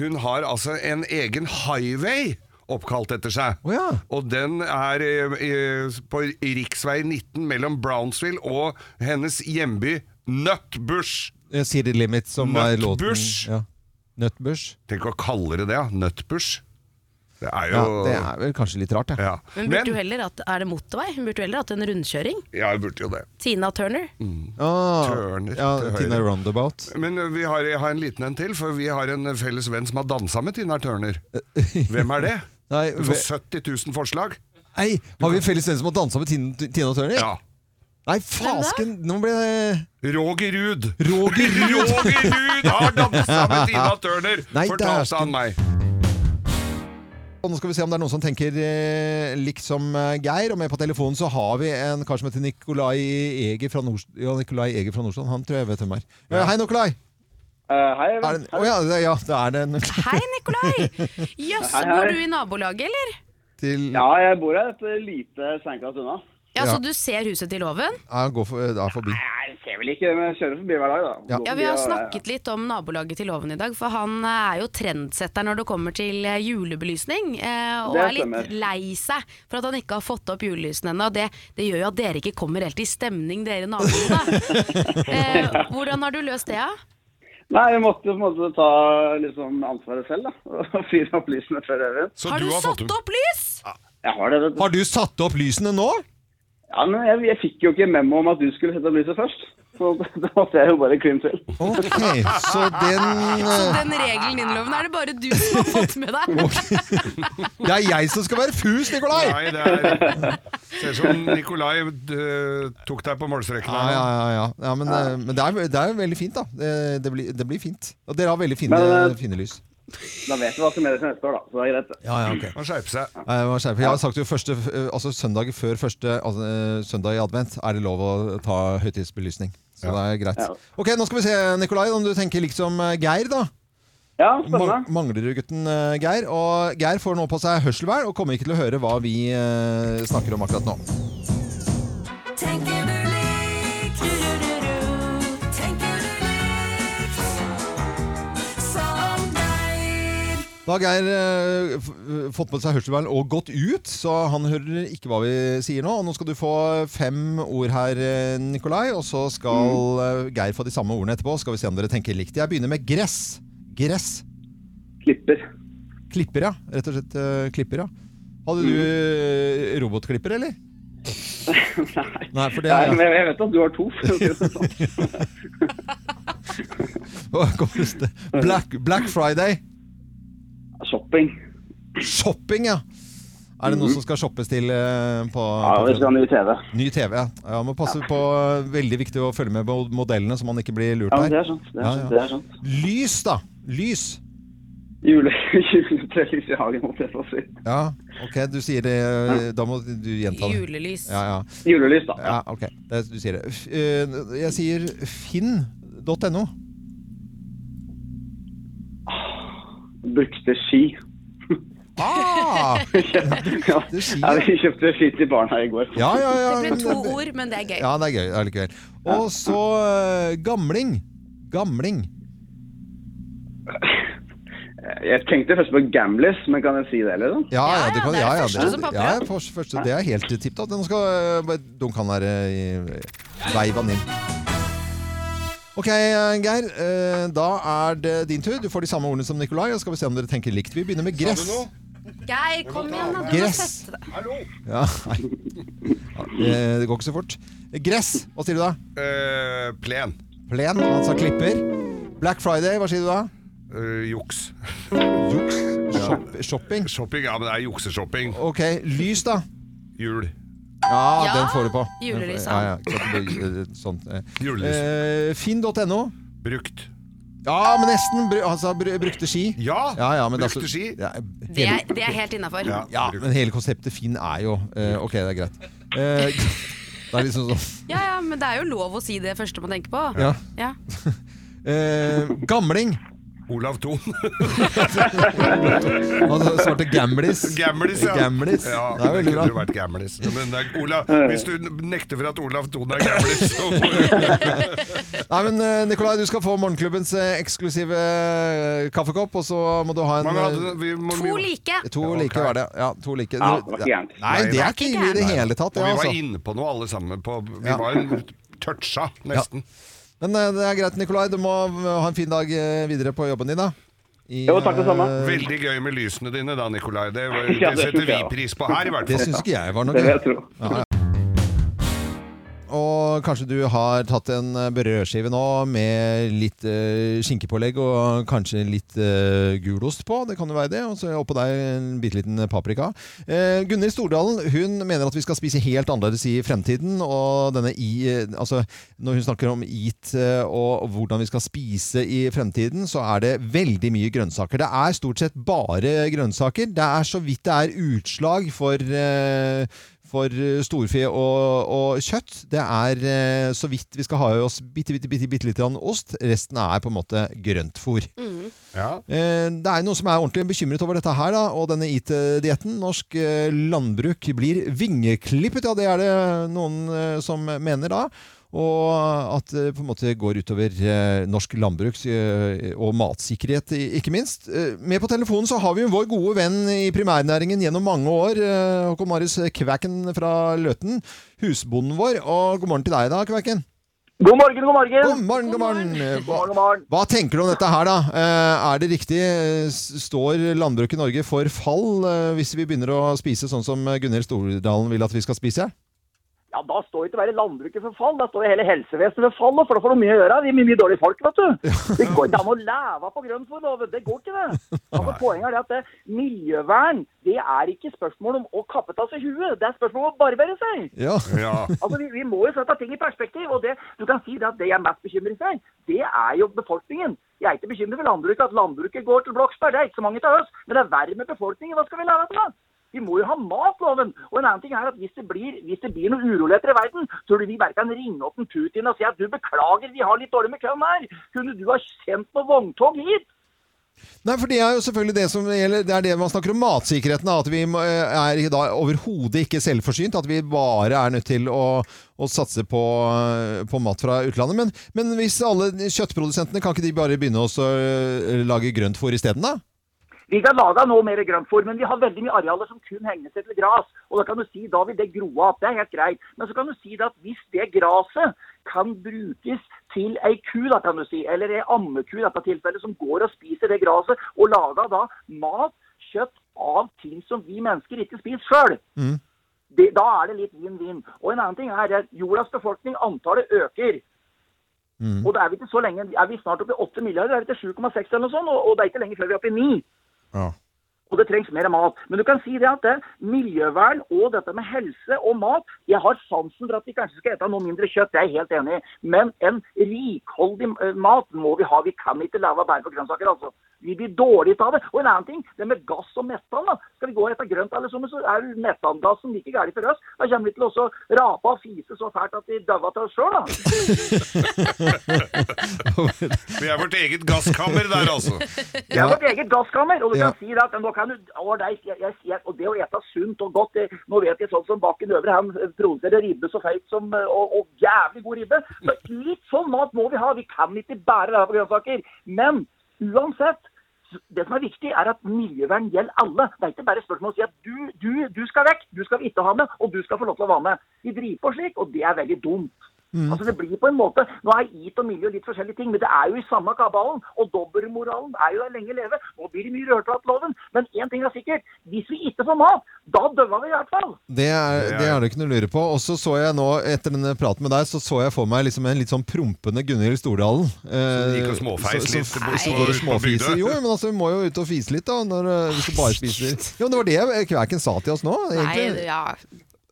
hun har altså en egen highway oppkalt etter seg. Å ja. Og den er eh, eh, på riksvei 19 mellom Brownsville og hennes hjemby Nutbush. Eh, City Limit, som er låten. Nutbush. Ja. Nutbush. Tenk å kalle det det, ja. Nutbush. Det er Ja, jo det er vel kanskje litt rart, ja. ja. Hun burde jo heller hatt Er det motorvei? Hun burde jo heller hatt en rundkjøring. Ja, jeg burde jo det. Tina Turner. Ah, Turner ja, til høyre. Tina Roundabout. Men eh, vi har, jeg har en liten en til, for vi har en felles venn som har dansa med Tina Turner. Hvem er det? Nei, Du får 70 000 forslag. Nei, har vi felles venn som har dansa med Tin- Tina Turner? Ja. Nei, fasken! Nå ble det Roger Ruud. Roger Ruud. Roger Ruud har dansa med Tina Turner, Nei, fortalte han meg. Og nå skal vi se om det er noen som tenker eh, likt som eh, Geir. Og med på telefonen så har vi en kar som heter Nikolai Eger fra, Nors ja, Nikolai Eger fra Nordstrand. Han tror jeg vet hvem er. Eh, hei, Nikolai! Eh, hei, Er det, Å ja, det, ja, det er den Hei, Nikolai! Jøss, Hei, hei. bor du i nabolaget, eller? til ja, jeg bor her et lite steinkast unna. Ja, Ja. Så du ser huset til Loven? ja, gå for, eh, da forbi. Nei, jeg ser vel ikke, men jeg kjører forbi hver dag, da. Ja. Går Ja, forbi Vi har og- snakket litt om nabolaget til Loven i dag, for han eh, er jo trendsetter når det kommer til eh, julebelysning. eh, Og Det er litt stemmer. lei seg for at han ikke har fått opp julelysene ennå. og Det, det gjør jo at dere ikke kommer helt i stemning, dere naboer. da. Eh, Hvordan har du løst det, da? Nei, jeg måtte på en måte ta liksom, ansvaret selv, da. Og fyre opp lysene før øvrig. Så Har du satt opp lys?! Jeg har det, vet du. Har du satt opp lysene nå? Ja, men jeg, jeg fikk jo ikke memo om at du skulle sette opp lyset først. Så da måtte jeg jo bare kline til. Ok, så den Så eh, den regelen din, Loven, er det bare du som har fått med deg. Det er jeg som skal være fus, Nikolai! Nei, det er Ser ut som Nikolai eh, tok deg på målstreken. Ja, her. ja, ja, ja. ja Men, eh, men det, er, det er veldig fint, da. Det, det, blir, det blir fint. Og dere har veldig fine, Men, eh, fine lys. Da vet du hva som gjøres neste år, da. Så det er greit. det. Ja, ja, ok. Må skjerpe seg. Nei, Jeg, må skjerpe. jeg har sagt jo første, eh, altså søndag før første altså, eh, søndag i advent er det lov å ta høytidsbelysning. Så det er greit. Ja. Ok, Nå skal vi se, Nikolai, om du tenker liksom eh, Geir, da. Ja, Mang- spennende. Manglerudgutten eh, Geir. Og Geir får nå på seg hørselvern og kommer ikke til å høre hva vi eh, snakker om akkurat nå. Tenker du likt? Ru-ru-ru-ru. Tenker du likt? Som deg. Da har Geir eh, f- eh, fått på seg hørselvern og gått ut, så han hører ikke hva vi sier nå. Og nå skal du få fem ord her, eh, Nikolai, og så skal Mm. eh, Geir få de samme ordene etterpå. Skal vi se om dere tenker likt. Jeg begynner med gress. Gress. Klipper. Klipper, ja. Rett og slett eh, klipper, ja. Hadde du eh, robotklipper, eller? Mm. Nei. Nei, for det Nei, er men jeg vet at du har to. for å si det sånn. Hva kommer det til? Black, Black Friday. Shopping. Shopping, ja. Er det noe som skal shoppes til eh, på, Mm. Ja, på vi skal ha ny TV. Ny TV, ja. ja man må passe på Veldig viktig å følge med på modellene, så man ikke blir lurt Ja, men det her. er sant. Det er Ja, ja. sant. Det er sant. Lys, da. Lys. Jule, juletrelys i hagen, holdt jeg på å si. Ja, OK, du sier det Da må du gjenta det. Julelys. Ja, ja. Julelys, da. ja OK, det, du sier det. F- eh, Jeg sier finn.no. Brukte ski. Ah! Ja, ski, Ja, vi kjøpte ski til barna i går. Ja, ja, ja. Det ble men- to ord, men det er gøy. Ja, det er gøy allikevel. Og så eh, gamling. Gamling. Jeg tenkte først på Gamlis, men kan jeg si det, eller? Ja, ja, Ja, det ja, kan, det er ja, ja, første som popper ja, opp. først- første, det er helt tipp topp. Den skal eh, bare dunke han der eh, i veivan inn. Ok, eh, Geir. eh, Da er det din tur. Du får de samme ordene som Nikolai. Og skal vi se om dere tenker likt. Vi begynner med gress. Geir, kom igjen, da. Du må Gress. teste det. Ja, nei. Ja, eh, Det går ikke så fort. Gress. Hva sier du da? Eh, plen. Plen. Han sa klipper. Black Friday. Hva sier du da? Eh, juks. Juks. Shop, shopping. Shopping, ja, men det er jukseshopping. Ok, lys, da. Jul. Ja, Ja, den får du på. julelys, ja. ja, ikke sant, det blir, eh, sånt, eh. Julelys. Eh, Finn.no. Brukt. Ja, men nesten. Bru, altså, bru, brukte ski. Ja! Ja, ja, men Brukte altså- ski. Ja, Det hele, er, det er helt innafor. Ja. ja, men hele konseptet Finn er jo eh, Ok, det er greit. Eh, det er liksom sånn Ja, ja, men det er jo lov å si det første man tenker på. Ja. Ja. Eh, gamling. Olav Thon. Altså, svarte gamlis. Gamlis, ja. Gamlis. Ja, det er veldig kunne jo bra. vært gamlis. Men det er Olav, hvis du nekter for at Olav Thon er gamlis, så må du Nei, men eh, Nikolai, du skal få morgenklubbens eh, eksklusive eh, kaffekopp, og så må du ha en Mange eh, hadde vi må, To like. To Ja, ok. like var det. Ja, to like. Ja, det var ikke gærent. Nei, det er ikke ille i det hele tatt. Og Ja, vi var altså. inne på noe alle sammen. På, vi Ja. var en toucha, nesten. Men eh, det er greit, Nikolai. Du må eh, ha en fin dag eh, videre på jobben din. da. I, Jo, takk det samme. eh, Veldig gøy med lysene dine da, Nikolai. Det, Ja, det det setter synes vi jeg, ja. pris på her, i hvert Det fall. syns ikke jeg var noe Det vil jeg gøy. tro. Og kanskje du har tatt en eh, brødskive nå med litt eh, skinkepålegg og kanskje litt eh, gulost på. Det kan jo være det. Og så oppå deg en bitte liten paprika. Eh, Gunnhild Stordalen hun mener at vi skal spise helt annerledes i fremtiden. Og denne i, eh, altså, når hun snakker om eat eh, og hvordan vi skal spise i fremtiden, så er det veldig mye grønnsaker. Det er stort sett bare grønnsaker. Det er så vidt det er utslag for eh, for eh, storfe og, og kjøtt. Det er eh, så vidt vi skal ha i oss bitte, bitte, bitte, bitte litt grann ost. Resten er på en måte grøntfôr. Ja. Eh, Det er noen som er ordentlig bekymret over dette her, da, og denne IT-dietten. Norsk eh, landbruk blir vingeklippet, ja det er det noen eh, som mener da. Og at det på en måte går utover eh, norsk landbruks- eh, og matsikkerhet, i- ikke minst. Eh, Med på telefonen så har vi jo vår gode venn i primærnæringen gjennom mange år, eh, Håkon Marius Kvæken fra Løten. Husbonden vår. Og god morgen til deg da, Kvæken. God morgen, god God morgen! morgen, god morgen. Hva- God morgen. hva tenker du om dette her, da? Eh, Er det riktig? Eh, s- Står landbruket i Norge for fall eh, hvis vi begynner å spise sånn som Gunhild Stordalen vil at vi skal spise? Ja, da står jo ikke bare landbruket for fall, da står jo hele helsevesenet for fall, og for da får de mye å gjøre. Vi er mye, mye dårlige folk, vet du. Det går ikke an å leve på grønnfôr, da, vet du. det går ikke det. Altså, poenget er det at det, miljøvern, det er ikke spørsmål om å kappe av seg huet, det er spørsmål om å barbere seg. Ja. Ja. Altså, vi, vi må jo sette ting i perspektiv, og det, du kan si det at det jeg er mest bekymret for, det er jo befolkningen. Jeg er ikke bekymret for landbruket, at landbruket går til Bloksberg, det er ikke så mange til oss, men det er verre med befolkningen, hva skal vi leve etter da? Vi må jo ha matloven. Og en annen ting er at hvis det blir, hvis det blir noen uroligheter i verden, tror du vi bare kan ringe opp en Putin og si at du beklager, vi har litt dårlig med køen her. Kunne du ha sendt noe vogntog hit? Nei, for det er jo selvfølgelig det som gjelder, det er det man snakker om matsikkerheten, da, at vi må- eh, er i dag overhodet ikke selvforsynt, at vi bare er nødt til å, å satse på, eh, på mat fra utlandet. Men, men hvis alle kjøttprodusentene, kan ikke de bare begynne også å øh, lage grøntfôr isteden da? Vi kan lage noe mer grøntfôr, men vi har veldig mye arealer som kun hegner seg til gras. Og da kan du si da vil det gro av. Det er helt greit. Men så kan du si det at hvis det graset kan brukes til ei ku, da kan du si, eller ei ammeku i dette tilfellet, som går og spiser det graset, og lager da mat, kjøtt, av ting som vi mennesker ikke spiser sjøl. Det, da er det litt vinn-vinn. Og en annen ting er at jordas befolkning, antallet øker. Og da er vi ikke så lenge, er vi snart oppe i 8 milliarder, er det ikke 7,6 eller noe sånt, og, og det er ikke lenge før vi er oppe i 9 Ja. og det trengs mer mat. Men du kan si det at det, miljøvern og dette med helse og mat Jeg har sansen for at vi kanskje skal ete noe mindre kjøtt, det er jeg helt enig i. Men en rikholdig eh, mat må vi ha. Vi kan ikke leve av bær på grønnsaker, altså. Vi blir dårlige av det. Og en annen ting, det med gass og metan. da. Skal vi gå etter grønt eller sånn, så er jo metangassen like gæren for oss. Da kommer vi til å også rape og fise så fælt at vi dauer av oss sjøl, da. Vi er vårt eget gasskammer der, altså. Det er vårt eget gasskammer, og du Ja. kan si det at nå kan du, å, nei, jeg, jeg, sier- og det å ete sunt og godt, det, nå vet jeg sånn som Bakken Øvre, han eh, produserer ribbe så feit som, eh, og, og jævlig god ribbe. Så litt sånn mat må vi ha, vi kan ikke bære det her på grønnsaker. Men uansett, det som er viktig er at miljøvern gjelder alle. Det er ikke bare spørsmål å si at du, du, du skal vekk, du skal vi ikke ha med, og du skal få lov til å være med. Vi driver på slik, og det er veldig dumt. Altså Det blir på en måte Nå er IT og miljø litt forskjellige ting, men det er jo i samme kabalen. Og dobbeltmoralen er jo der lenge leve. Nå blir det mye rørtratloven. Men én ting er sikkert. Hvis vi ikke får mat, da døver vi i hvert fall. Det er det, er det ikke noe å lure på. Og så så jeg nå, etter denne praten med deg, så så jeg for meg liksom en litt sånn prompende Gunhild Stordalen. Eh, gikk og småfeis så- litt så- bort så på- går og bort på bygda. småfiser. Jo, men altså, vi må jo ut og fise litt, da, når, eh, hvis du bare spiser Jo, men det var det Kvæken sa til oss nå, egentlig. Nei, ja,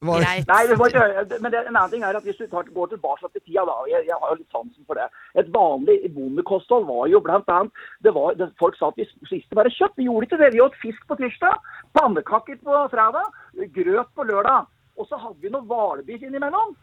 Var- greit. Nei, vi får ikke høre. Men det, en annen ting er at hvis du tar, går tilbake til tida, da og jeg, jeg har jo litt sansen for det. Et vanlig bondekosthold var jo blant annet det var, det, Folk sa at vi spiste bare kjøtt. Vi gjorde ikke det. Vi åt fisk på tirsdag, pannekaker på fredag, grøt på lørdag. Og så hadde vi noe hvalbiff innimellom.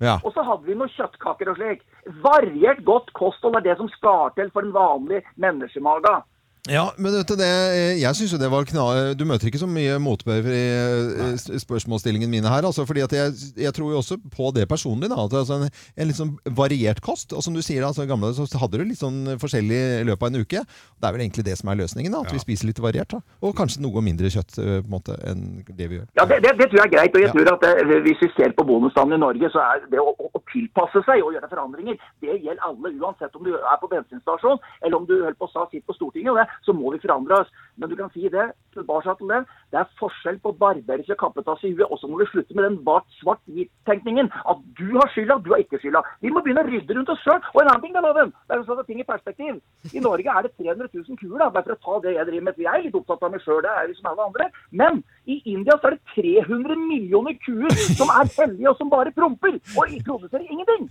Ja. Og så hadde vi noen kjøttkaker og slik. Variert godt kosthold er det som skal til for en vanlig menneskemaga. Ja, men vet du det, eh, jeg synes jo det var knall... Du møter ikke så mye motbør i eh, s- spørsmålsstillingen mine her, altså, fordi at jeg, jeg tror jo også på det personlig, da, at altså en, en litt sånn variert kost, og som du sier, da, altså, i gamle dager så hadde du litt sånn forskjellig i løpet av en uke. Det er vel egentlig det som er løsningen, da, at vi spiser litt variert, da. og kanskje noe mindre kjøtt eh, på en måte, enn det vi gjør. Ja, det, det, det tror jeg er greit. Og jeg Ja. tror at eh, hvis vi ser på bonusstanden i Norge, så er det å, å, å tilpasse seg og gjøre forandringer, det gjelder alle. Uansett om du er på bensinstasjon eller om du holder på å sa sitt på Stortinget, og det, så må vi forandre oss. Men du kan si det, tilbake til det, det er forskjell på barberer som kappet av seg i huet, og så må vi slutte med den bart svart-hvit-tenkningen. At du har skylda, du har ikke skylda. Vi må begynne å rydde rundt oss sjøl. Og en annen ting, da, Loven, det er å sette ting i perspektiv. I Norge er det 300 000 kuer, da, bare for å ta det jeg driver med. Jeg er litt opptatt av meg sjøl, det er vi som alle andre. Men i India så er det 300 millioner kuer som er hellige og som bare promper, og ikke produserer ingenting.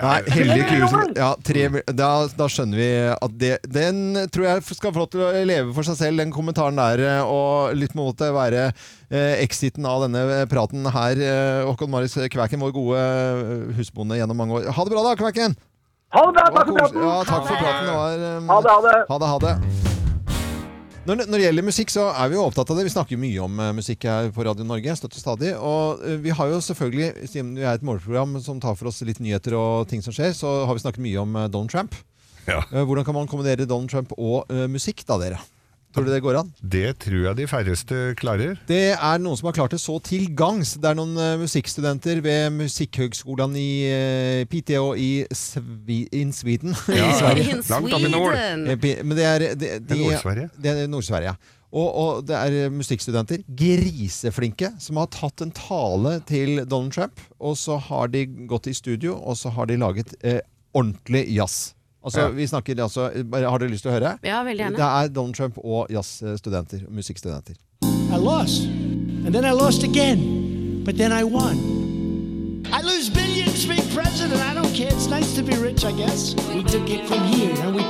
Nei, heldige Tre kuer som millioner! ja, tre, mil- da, da skjønner vi at det, den tror jeg skal få lov til å leve for seg selv, den kommentaren der, eh, og litt på en måte være eh, exiten av denne praten her. Eh, Håkon Marius Kvæken, vår gode eh, husbonde gjennom mange år. Ha det bra da, Kvæken! Ha det bra, Det takk var for kos- praten! Ja, takk for praten. Det var, eh, Ha det, ha det. Ha det, ha det. Når, når det gjelder musikk, så er vi jo opptatt av det. Vi snakker jo mye om eh, musikk her på Radio Norge. Støtt og stadig. Og eh, vi har jo selvfølgelig, siden vi er et morgenprogram som tar for oss litt nyheter og ting som skjer, så har vi snakket mye om eh, Donald Trump. Ja. Eh, Hvordan kan man kombinere Donald Trump og eh, musikk, da, dere? Tror dere det går an? Det tror jeg de færreste klarer. Det er noen som har klart det så til gangs. Det er noen eh, musikkstudenter ved Musikkhøgskolen i eh, Piteå i Svi in Sweden. I Ja, ja. Sverige. In Langt opp i nord. Sweden. Eh, pi- Men det er, de, de, Det er Nord-Sverige. Det er Nord-Sverige, ja. Og, og det er eh, musikkstudenter, griseflinke, som har tatt en tale til Donald Trump. Og så har de gått i studio, og så har de laget eh, ordentlig jazz. Altså, Ja. vi snakker altså bare, Har dere lyst til å høre? Ja, veldig gjerne. Det er Donald Trump og jazzstudenter. Musikkstudenter. I lost. And then I lost again. But then I won. I lose billions being president. I don't care. It's nice to be rich, I guess. We took it from here and we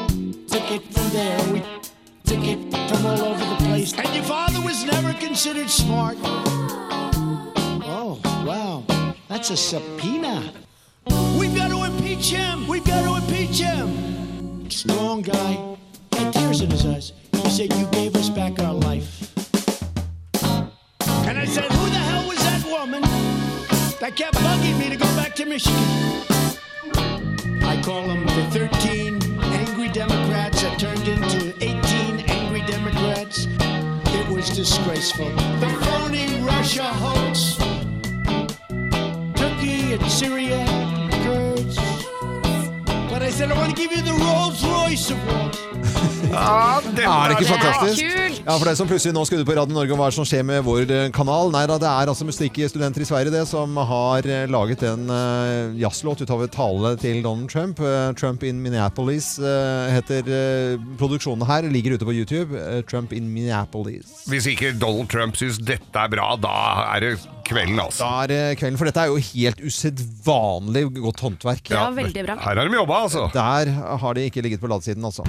took it from there. We took it from all over the place. And your father was never considered smart. Oh, wow. That's a subpoena. We've got to impeach him. We've got to impeach him. Strong guy. Had tears in his eyes. He said, You gave us back our life. And I said, Who the hell was that woman that kept bugging me to go back to Michigan? I call them the 13 angry Democrats that turned into 18 angry Democrats. It was disgraceful. The phony Russia hoax. Turkey and Syria, and Kurds. But I said, I want to give you the Rolls Royce Award. Ja, den Er det Det ikke er fantastisk? kult! Ja, for deg som plutselig nå skrudde på Radio Norge om hva som skjer med vår eh, kanal. Nei da, det er altså musikkstudenter i Sverige det som har eh, laget en uh, jazzlåt ut av et tale til Donald Trump. Eh, Trump in Minneapolis eh, heter eh, produksjonen her. Ligger ute på YouTube. Eh, Trump in Minneapolis. Hvis ikke Donald Trump syns dette er bra, da er det kvelden, altså. Da er det kvelden, for dette er jo helt usedvanlig godt håndverk. Ja, veldig bra. Her har de jobba, altså. Der har de ikke ligget på ladesiden, altså.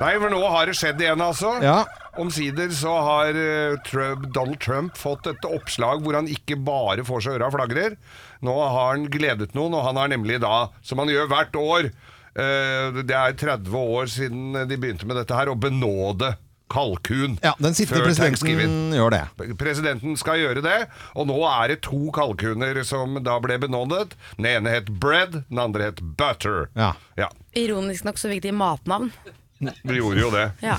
Nei, for nå har det skjedd igjen, altså. Ja. Omsider så har eh, Trump, Donald Trump fått et oppslag hvor han ikke bare får seg øra flagrer. Nå har han gledet noen, og han har nemlig da, som han gjør hvert år eh, Det er 30 år siden de begynte med dette her, å benåde kalkun. ja den sittende før Thanksgiving. presidenten gjør det. Presidenten skal gjøre det, og nå er det to kalkuner som da ble benådet. Den ene het Bread, den andre het Butter. Ja. Ironisk nok så fikk de matnavn. Vi gjorde jo det. Ja.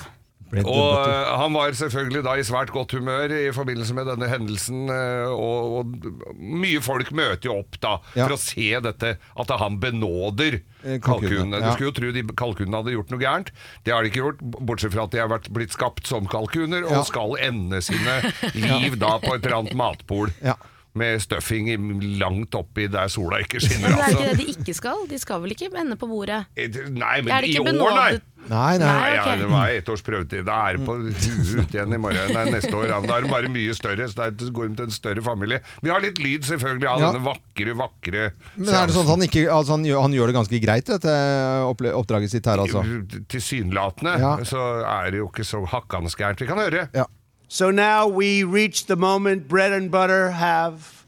Og eh, han var selvfølgelig da i svært godt humør i forbindelse med denne hendelsen. eh, Og, og mye folk møter jo opp da Ja. for å se dette, at han benåder Eh, kalkunene, kalkunene. ja. Du skulle jo tro de kalkunene hadde gjort noe gærent. Det har de ikke gjort, b- bortsett fra at de har vært, blitt skapt som kalkuner og Ja. skal ende sine liv da på et eller annet matbol. Ja. Med stuffing i, langt oppi der sola ikke Men skinner, det er ikke altså. det de ikke skal. De skal vel ikke ende på bordet? Eh, Nei, men Er det i ikke år, nei. benådet Nei, nei. Nei. Nei, ja, ok. det var ett års prøvetid. Da er det på huet ut igjen i morgen. Nei, neste år. Ja, men Da er det bare mye større. Så det er- går de til en større familie. Vi har litt lyd, selvfølgelig, av Ja. denne vakre, vakre Men er det sånn at han, ikke, altså han, gjør, han gjør det ganske greit, dette eh, opple- oppdraget sitt her, altså? Tilsynelatende Ja. så er det jo ikke så hakkende gærent. Vi kan høre. Ja. So now we reach the moment bread and butter have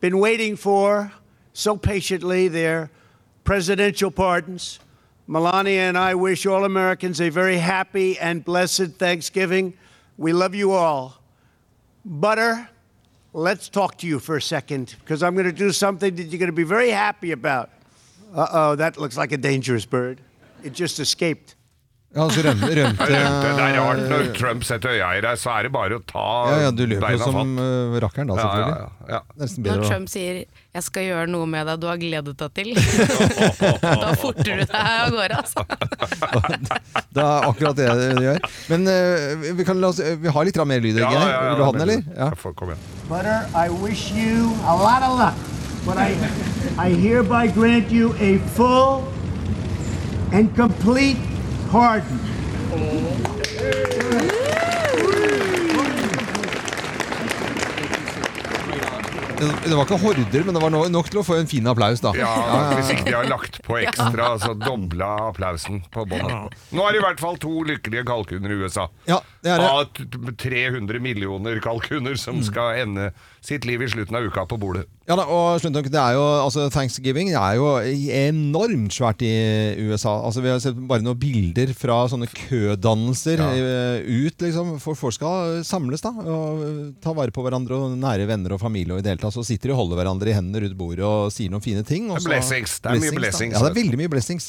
been waiting for so patiently their presidential pardons. Melania and I wish all Americans a very happy and blessed Thanksgiving. We love you all. Butter, let's talk to you for a second because I'm going to do something that you're going to be very happy about. Uh oh, that looks like a dangerous bird. It just escaped. Ja, altså røm, rømte Det er rart når Trump setter øya i deg, så er det bare å ta Ja, ja, du løper jo beina som fatt. eh, rakkeren da, Ja, selvfølgelig. ja, ja. Nesten Når bedre å Trump sier 'jeg skal gjøre noe med deg du har gledet deg til', da forter du deg av gårde, altså. Det er akkurat det du gjør. Men eh, vi- vi, kan la oss, vi har litt grann mer lyd, Ja, Geir. ja, ja, Vil du ha den, eller? Ja, Ja. får- kom igjen. Butter, I wish you a lot of luck. But I, I hereby grant you a full and complete pardon. Det, det var ikke horder, men det var no, nok til å få en fin applaus, da. Ja, hvis ikke de har lagt på ekstra, så dobla applausen på båndet. Nå er det i hvert fall to lykkelige kalkuner i USA. Ja, det er det. Av t- t- 300 millioner kalkuner som skal ende sitt liv i slutten av uka på bordet. Ja da, og slutt nok, det er jo, altså Thanksgiving det er jo enormt svært i USA. Altså Vi har sett bare noen bilder fra sånne kødannelser eh, ut, liksom. For folk skal samles, da. Og eh, ta vare på hverandre og nære venner og familie. Og i det hele tatt så sitter de og holder hverandre i hendene rundt bordet og sier noen fine ting. Og Det er blessings. Det er mye blessings, da. Ja, det vet er veldig mye blessings.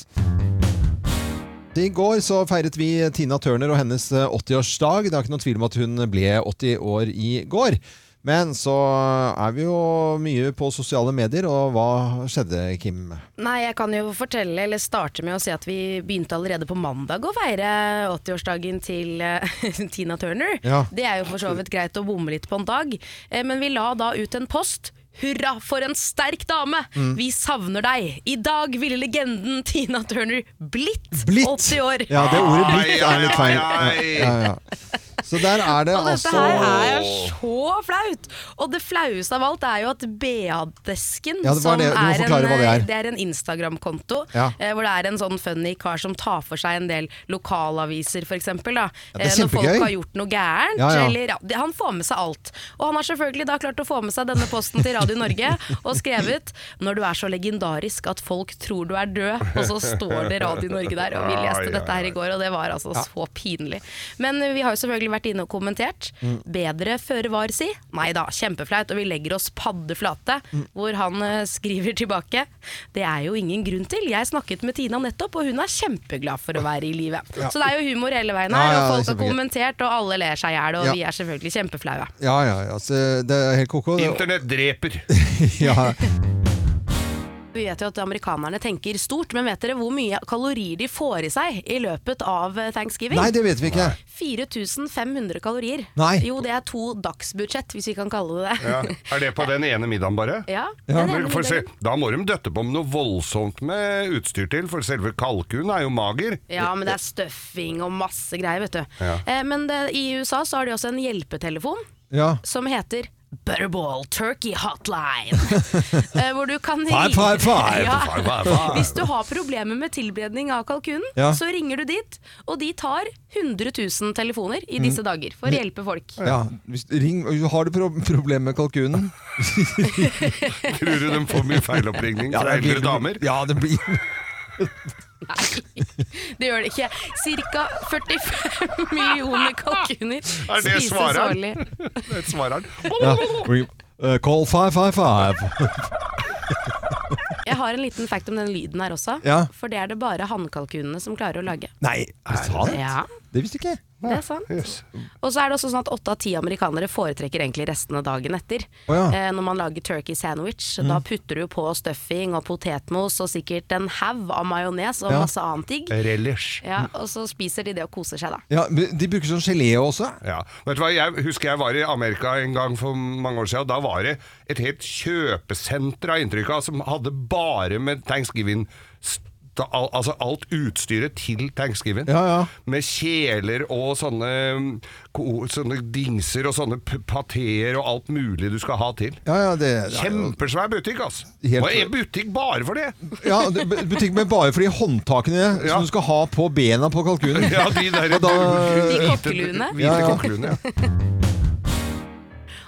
I går så feiret vi Tina Turner og hennes eh, 80-årsdag. Det er ikke noen tvil om at hun ble 80 år i går. Men så er vi jo mye på sosiale medier, og hva skjedde, Kim? Nei, jeg kan jo fortelle, eller starte med å si at vi begynte allerede på mandag å feire 80-årsdagen til eh, Tina Turner. Ja. Det er jo for så vidt greit å bomme litt på en dag. Eh, Men vi la da ut en post. Hurra for en sterk dame! Mm. Vi savner deg! I dag ville legenden Tina Turner blitt, 80 år. Ja, det ordet blitt er litt feil. Ja, Ai, ai, ai. ja, ja. Så der er det Og dette altså her er så flaut! Og det flaueste av alt er jo at BA-desken, Ja, det var som det. Du må er en, eh, forklare hva det er. det er en Instagram-konto, Ja. eh, hvor det er en sånn funny kar som tar for seg en del lokalaviser, f.eks. Ja, Ja, det er Eh, Når folk kjempegøy. har gjort noe gærent. Ja, ja. Eller, ja, det- han får med seg alt. Og han har selvfølgelig da klart å få med seg denne posten til Radio Norge og skrevet 'Når du er så legendarisk at folk tror du er død', og så står det Radio Norge der. Og vi leste dette her i går, og det var altså så pinlig. Men vi har jo selvfølgelig vært inne og kommentert. Mm. Bedre føre var, si. Nei da, kjempeflaut. Og vi legger oss paddeflate, Mm. hvor han eh, skriver tilbake. Det er jo ingen grunn til. Jeg snakket med Tina nettopp, og hun er kjempeglad for å være i live. Så det er jo humor hele veien her, Ja, ja, og folk det er har kjempegøy. kommentert, og alle ler seg i hjel, og Ja. vi er selvfølgelig kjempeflaue. Ja, ja, ja. Så det er helt koko. Det- Internett dreper. Ja. Vi vet jo at amerikanerne tenker stort, men vet dere hvor mye kalorier de får i seg i løpet av eh, thanksgiving? Nei, det vet vi ikke. 4500 kalorier. Nei. Jo, det er to dagsbudsjett, hvis vi kan kalle det det. Ja. Er det på den ene middagen bare? Ja, Ja, den Men ene for se, middagen. da må de døtte på med noe voldsomt med utstyr til, for selve kalkunen er jo mager. Ja, men det er stuffing og masse greier, vet du. Ja. Eh, men det, i USA så har de også en hjelpetelefon Ja. som heter Butterball Turkey Hotline. eh, hvor du kan Five, five, five. Ja. Hva- hva- hva- Hvis du har problemer med tilberedning av kalkunen, Ja. så ringer du dit. Og de tar 100 000 telefoner Mm. i disse dager for å hjelpe folk. ja. Hvis, ring, har du pro problemer med kalkunen? Tror du de får mye feiloppringning fra eldre damer? Ja, det blir Nei, det gjør det ikke. Cirka 45 millioner kalkuner Er det spises svareren? årlig. Det svarer han. ja. ring- eh, Call 555. Jeg har en liten fact om den lyden her også. Ja. For det er det bare hannkalkunene som klarer å lage. Nei, er det sant? Ja, Det visste ikke jeg. det er sant. Yes. Og så er det også sånn at åtte av ti amerikanere foretrekker egentlig restene dagen etter. Å ja. Mm. eh, når man lager turkey sandwich, da putter du på stuffing og potetmos og sikkert en haug av majones og Ja. Eh. masse annet digg. Relish. Ja, og så spiser de det og koser seg, da. Ja, men de bruker sånn gelé også. Ja. Vet du hva, jeg husker jeg var i Amerika en gang for mange år siden, og da var det et helt kjøpesenter av inntrykk av, som hadde bare med Thanksgiving st- al Altså alt utstyret til Thanksgiving. Ja, ja. Med kjeler og sånne, mm, ko- sånne dingser og sånne p- patéer og alt mulig du skal ha til. Ja, ja, det, det er jo- Kjempesvær butikk, altså. Helt- Og en butikk bare for det. ja, det- butikk med bare for de håndtakene Ja. som du skal ha på bena på kalkunen. Ja, de der Og da- De hvite- kokkeluene. Hvite Ja, ja. kokkeluene, ja.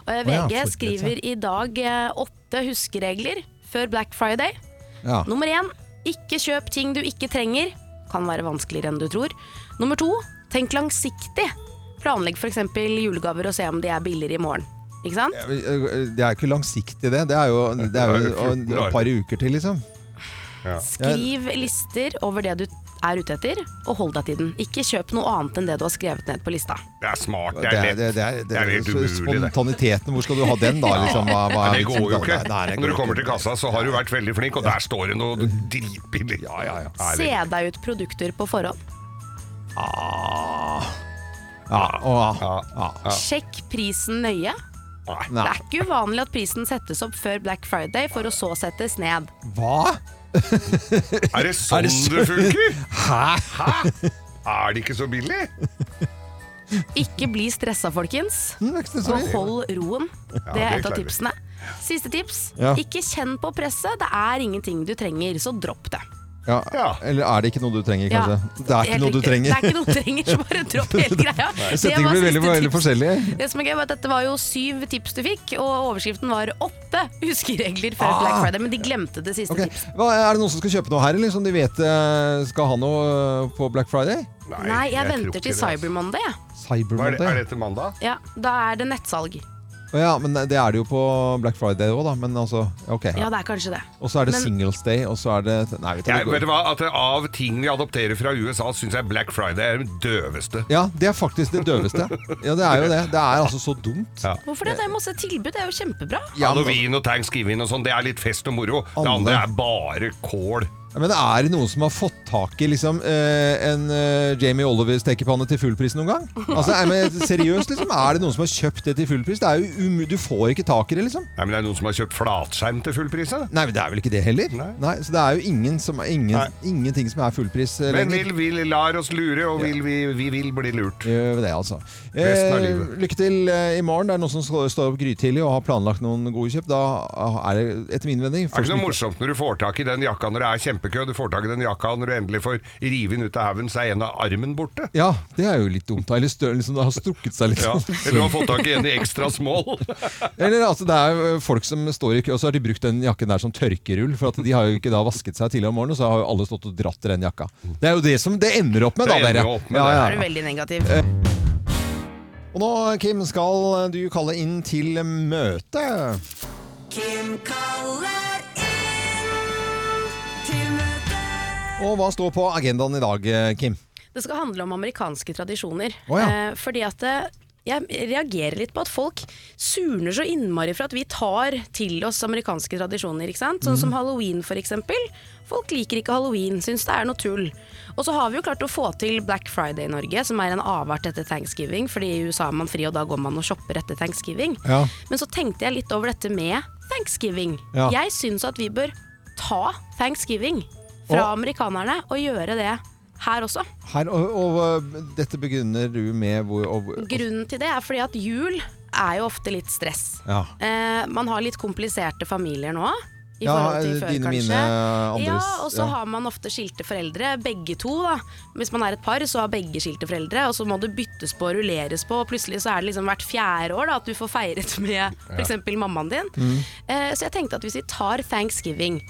Og eh, Å ja, VG forberedt, skriver i dag eh, åtte huskeregler før Black Friday. Ja. Nummer én, ikke kjøp ting du ikke trenger. Kan være vanskeligere enn du tror. Nummer to, tenk langsiktig. Planlegg f.eks. julegaver og se om de er billigere i morgen. Ikke sant? Det er jo ikke langsiktig, det. Det er jo, det er jo Det er et jo par uker til, liksom. Skriv lister over det du er ute etter, og hold deg til den. Ikke kjøp noe annet enn det du har skrevet ned på lista. Det er smart, Det det er er, lett. det, det er, det er, helt umulig, det. spontaniteten. Hvor skal du ha den, da? Liksom? Hva, hva, Nei, er det liksom- går jo ikke. Nei, nei, det Når går du kommer til ikke. kassa, så har du vært veldig flink, og der står det noe dritbillig. Ja, ja, ja. Nei, Se det- deg ut produkter på forhånd. Ja, og, Ja, ja. Sjekk prisen nøye. Nei. Det er ikke uvanlig at prisen settes opp før Black Friday, for å så settes ned. Hva? Er det sånn Er det det, så- funker? Hæ? Er det ikke så billig? Ikke bli stressa, folkens. Det er ikke Og det så- hold roen. Det det er et av klarer vi. tipsene. Siste tips. Ja. Ikke kjenn på presset. Det er ingenting du trenger, så dropp det. Ja. Ja. Eller er det ikke noe du trenger, Ja. kanskje? Det er ikke Helt noe du riktig. trenger. Det er ikke noe du trenger, så bare dropp hele greia. Det Settingene var blir veldig, siste veldig tips. forskjellige. Det som er gøy var at Dette var jo syv tips du fikk, og overskriften var åtte huskeregler før Black Friday. Men de glemte det siste Ah. Ok. tipset. Hva, er det noen som skal kjøpe noe her, eller som de vet eh, skal ha noe eh, på Black Friday? Nei, jeg, tror venter ikke til det, altså. Cyber Monday. jeg. Cyber Hva Er det, er Monday. det til mandag? Ja, da er det nettsalg. Å Ja, men eh, det er det jo på Black Friday òg, da. Men altså, ok. Ja, det er kanskje det. Og så er det Men- Singles Day, og så er det Nei, vet du, Jeg, det vet du går. hva, at Av ting vi adopterer fra USA, syns jeg Black Friday er den døveste. Ja, det er faktisk det døveste. Ja, det er jo det. Det er altså så dumt. Ja. Hvorfor det? Det er masse tilbud, det er jo kjempebra. Ja, men, Halloween og thanksgiving og sånn, det er litt fest og moro. Det Alle. andre er bare kål. Ja, men det er noen som har fått tak i liksom, eh, en eh, Jamie Oliver-stekepanne til fullpris noen gang? Altså, nei, men Seriøst, liksom. Er det noen som har kjøpt det til fullpris? Det er jo um du får ikke tak i det, liksom. Nei, men Det er noen som har kjøpt flatskjerm til full pris. da. Nei, men det er vel ikke det heller? Nei. så det er jo ingen som, ingen, Nei. ingenting som er fullpris eh, Men lenger. vil, vi lar oss lure, og vil, vi, vi vil bli lurt. Gjør vi det, altså. Resten av Eh, livet. lykke til eh, i morgen. Det er noen som skal- står opp grytidlig og har planlagt noen gode kjøp. Da ah, er det etter min mening Det er folk ikke som noe ikke- morsomt når du får tak i den jakka når det er kjempekø. Du får tak i den jakka når du endelig får rive den ut av haugen, så er en av armen borte. Ja, det er jo litt dumt. da. Eller størrelsen som det har strukket seg litt. Ja, eller du har fått tak i en i ekstra small. Eller altså, det er jo folk som står i kø, og så har de brukt den jakken der som tørkerull. For at de har jo ikke da vasket seg tidligere om morgenen, og så har jo alle stått og dratt i den jakka. Det er jo det som det ender opp med, da, Det ender dere. jo opp Ja, med det. ja. Er du veldig negativ? Og nå, Kim, skal du kalle inn til møte. Kim kaller inn til møte. Og hva står på agendaen i dag, Kim? Det skal handle om amerikanske tradisjoner. Å, ja. eh, fordi at eh, jeg reagerer litt på at folk surner så innmari for at vi tar til oss amerikanske tradisjoner. ikke sant? Mm. Sånn som halloween f.eks. Folk liker ikke halloween, syns det er noe tull. Og så har vi jo klart å få til Black Friday i Norge, som er en avart etter thanksgiving. fordi i USA er man fri, og da går man og shopper etter thanksgiving. Ja. Men så tenkte jeg litt over dette med thanksgiving. Ja. Jeg syns at vi bør ta thanksgiving fra amerikanerne og gjøre det her også. Her, og, og øh, dette begrunner du med hvor og, Grunnen til det er fordi at jul er jo ofte litt stress. Ja. Eh, man har litt kompliserte familier nå. I Ja, eh, forhold til før, dine, kanskje. mine, eh, andres, Ja, og så ja. har man ofte skilte foreldre, begge to. da Hvis man er et par, så har begge skilte foreldre, og så må du byttes på og rulleres på, og plutselig så er det liksom hvert fjerde år da at du får feiret med f.eks. mammaen din. Eh, så jeg tenkte at hvis vi tar thanksgiving,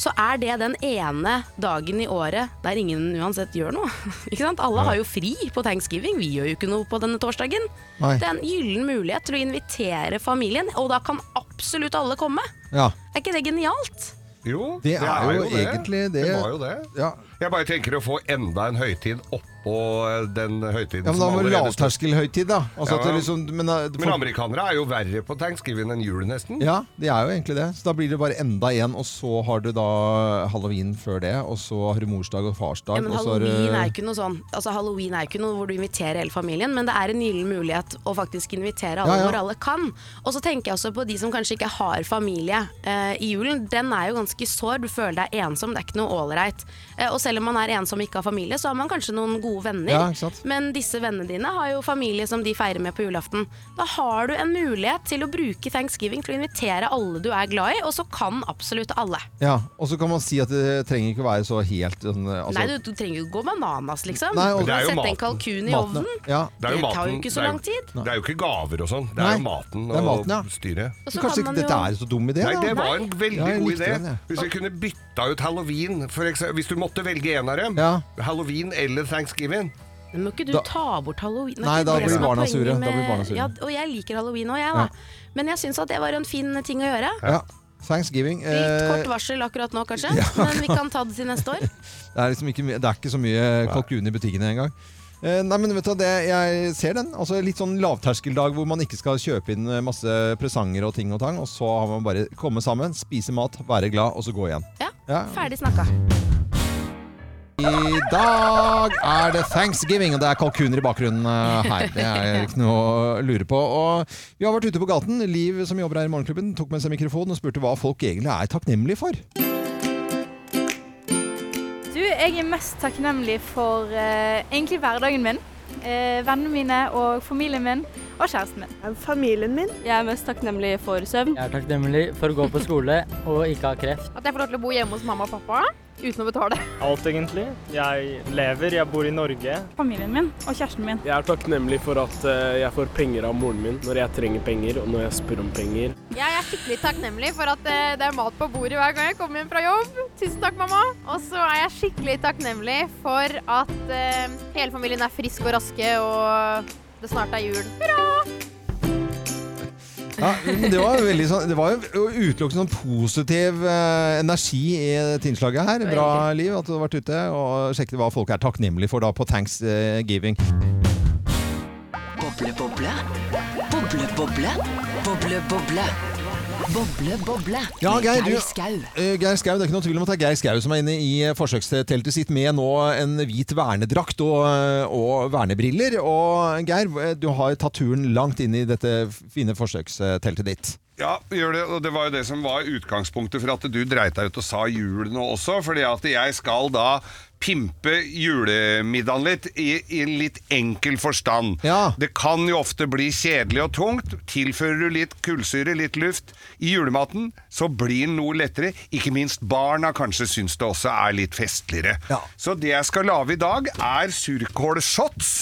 så er det den ene dagen i året der ingen uansett gjør noe. Ikke sant? Alle har jo fri på thanksgiving, vi gjør jo ikke noe på denne torsdagen. Nei. Det er en gyllen mulighet til å invitere familien, og da kan absolutt alle komme. Ja. Er ikke det genialt? Jo, Det er jo egentlig det. Det var jo det. Ja. Jeg bare tenker å få enda en høytid oppå eh, den høytiden ja, men da som må det allerede står. lavterskelhøytid, da. Altså, Ja, at det ja. liksom, men, øh, Men amerikanere er jo verre på thanksgiving enn jul, nesten. Ja, det er jo egentlig det. Så da blir det bare enda en, og så har du da halloween før det, og så har du morsdag og farsdag. Ja, men og så har du- Halloween er jo ikke noe sånn Altså Halloween er jo ikke noe hvor du inviterer hele familien, men det er en gyllen mulighet å faktisk invitere alle Ja, ja. hvor alle kan. Og så tenker jeg også på de som kanskje ikke har familie eh, i julen. Den er jo ganske sår, du føler deg ensom, det er ikke noe ålreit. Eh, og selv om man er ensom og ikke har familie, så har man kanskje noen gode venner. Ja, ikke sant? men disse vennene dine har jo familie som de feirer med på julaften. Da har du en mulighet til å bruke thanksgiving til å invitere alle du er glad i, og så kan absolutt alle. Ja, og så kan man si at det trenger ikke å være så helt sånn øh, altså, Nei, du, du trenger jo ikke gå bananas, liksom. Nei, og- Du Det kan er jo sette en maten. kalkun i maten- ovnen. Ja. Det, Det tar er jo jo maten- ikke så det er lang tid. Det er jo ikke gaver og sånn. Det Nei, er jo maten det er maten, ja. og styret. Og Så så kanskje kan ikke man dette jo- er så dum idé? Nei, da? det var en veldig Ja, jeg god likte idé. den, jeg. Hvis vi kunne bytta ut halloween, for eksempel, hvis du måtte velge en av dem. Ja. Halloween eller thanksgiving. Men må ikke du Da- ta bort halloween? Det er Nei, ikke da det blir som er barna poenget sure. Da blir barna sure. Ja, og jeg liker halloween òg, jeg, da. Men jeg syns at det var en fin ting å gjøre. Ja. Thanksgiving. Litt eh, kort varsel akkurat nå, kanskje, men vi kan ta det til neste år. Det er, liksom ikke, mye- det er ikke så mye kalkun i butikkene engang. Eh, Nei, men vet du, hva, det, Jeg ser den. Altså Litt sånn lavterskeldag hvor man ikke skal kjøpe inn eh, masse presanger og ting og tang. Og så har man bare komme sammen, spise mat, være glad, og så gå igjen. Ja, Ja. Ferdig snakka. I dag er det thanksgiving, og det er kalkuner i bakgrunnen eh, her. Det er ikke noe å lure på. Og vi har vært ute på gaten. Liv, som jobber her i Morgenklubben, tok med seg mikrofonen og spurte hva folk egentlig er takknemlige for. Du, jeg er mest takknemlig for eh, egentlig hverdagen min. Eh, vennene mine og familien min og kjæresten min. Familien min. Jeg er mest takknemlig for søvn. Jeg er takknemlig for å gå på skole og ikke ha kreft. At jeg får lov til å bo hjemme hos mamma og pappa uten å betale. Alt, egentlig. Jeg lever, jeg bor i Norge. Familien min og kjæresten min. Jeg er takknemlig for at eh, jeg får penger av moren min når jeg trenger penger, og når jeg spør om penger. Jeg er skikkelig takknemlig for at eh, det er mat på bordet hver gang jeg kommer hjem fra jobb. Tusen takk, mamma. Og så er jeg skikkelig takknemlig for at eh, hele familien er frisk og raske, og det snart er jul. Hurra! Ja, men det var veldig sånn Det var jo utelukkende sånn positiv eh, energi i dette innslaget her. Bra liv at du har vært ute og sjekket hva folk er takknemlige for da på Thanksgiving. Boble, boble. Boble, boble. Boble, boble. Boble, boble. Ja, Med Geir, du, Skau. Eh, Geir Skau, det er ikke noe tvil om at det er Geir Skau som er inne i eh, forsøksteltet sitt med nå en hvit vernedrakt og, eh, og vernebriller. Og Geir, eh, du har tatt turen langt inn i dette fine forsøksteltet ditt. Ja, gjør det, og det var jo det som var utgangspunktet for at du dreit deg ut og sa jul nå også, fordi at jeg skal da pimpe julemiddagen litt i, i en litt enkel forstand. Det kan jo ofte bli kjedelig og tungt. Tilfører du litt kullsyre, litt luft i julematen, så blir den noe lettere. Ikke minst barna kanskje syns det også er litt festligere. Så det jeg skal lage i dag, er surkålshots.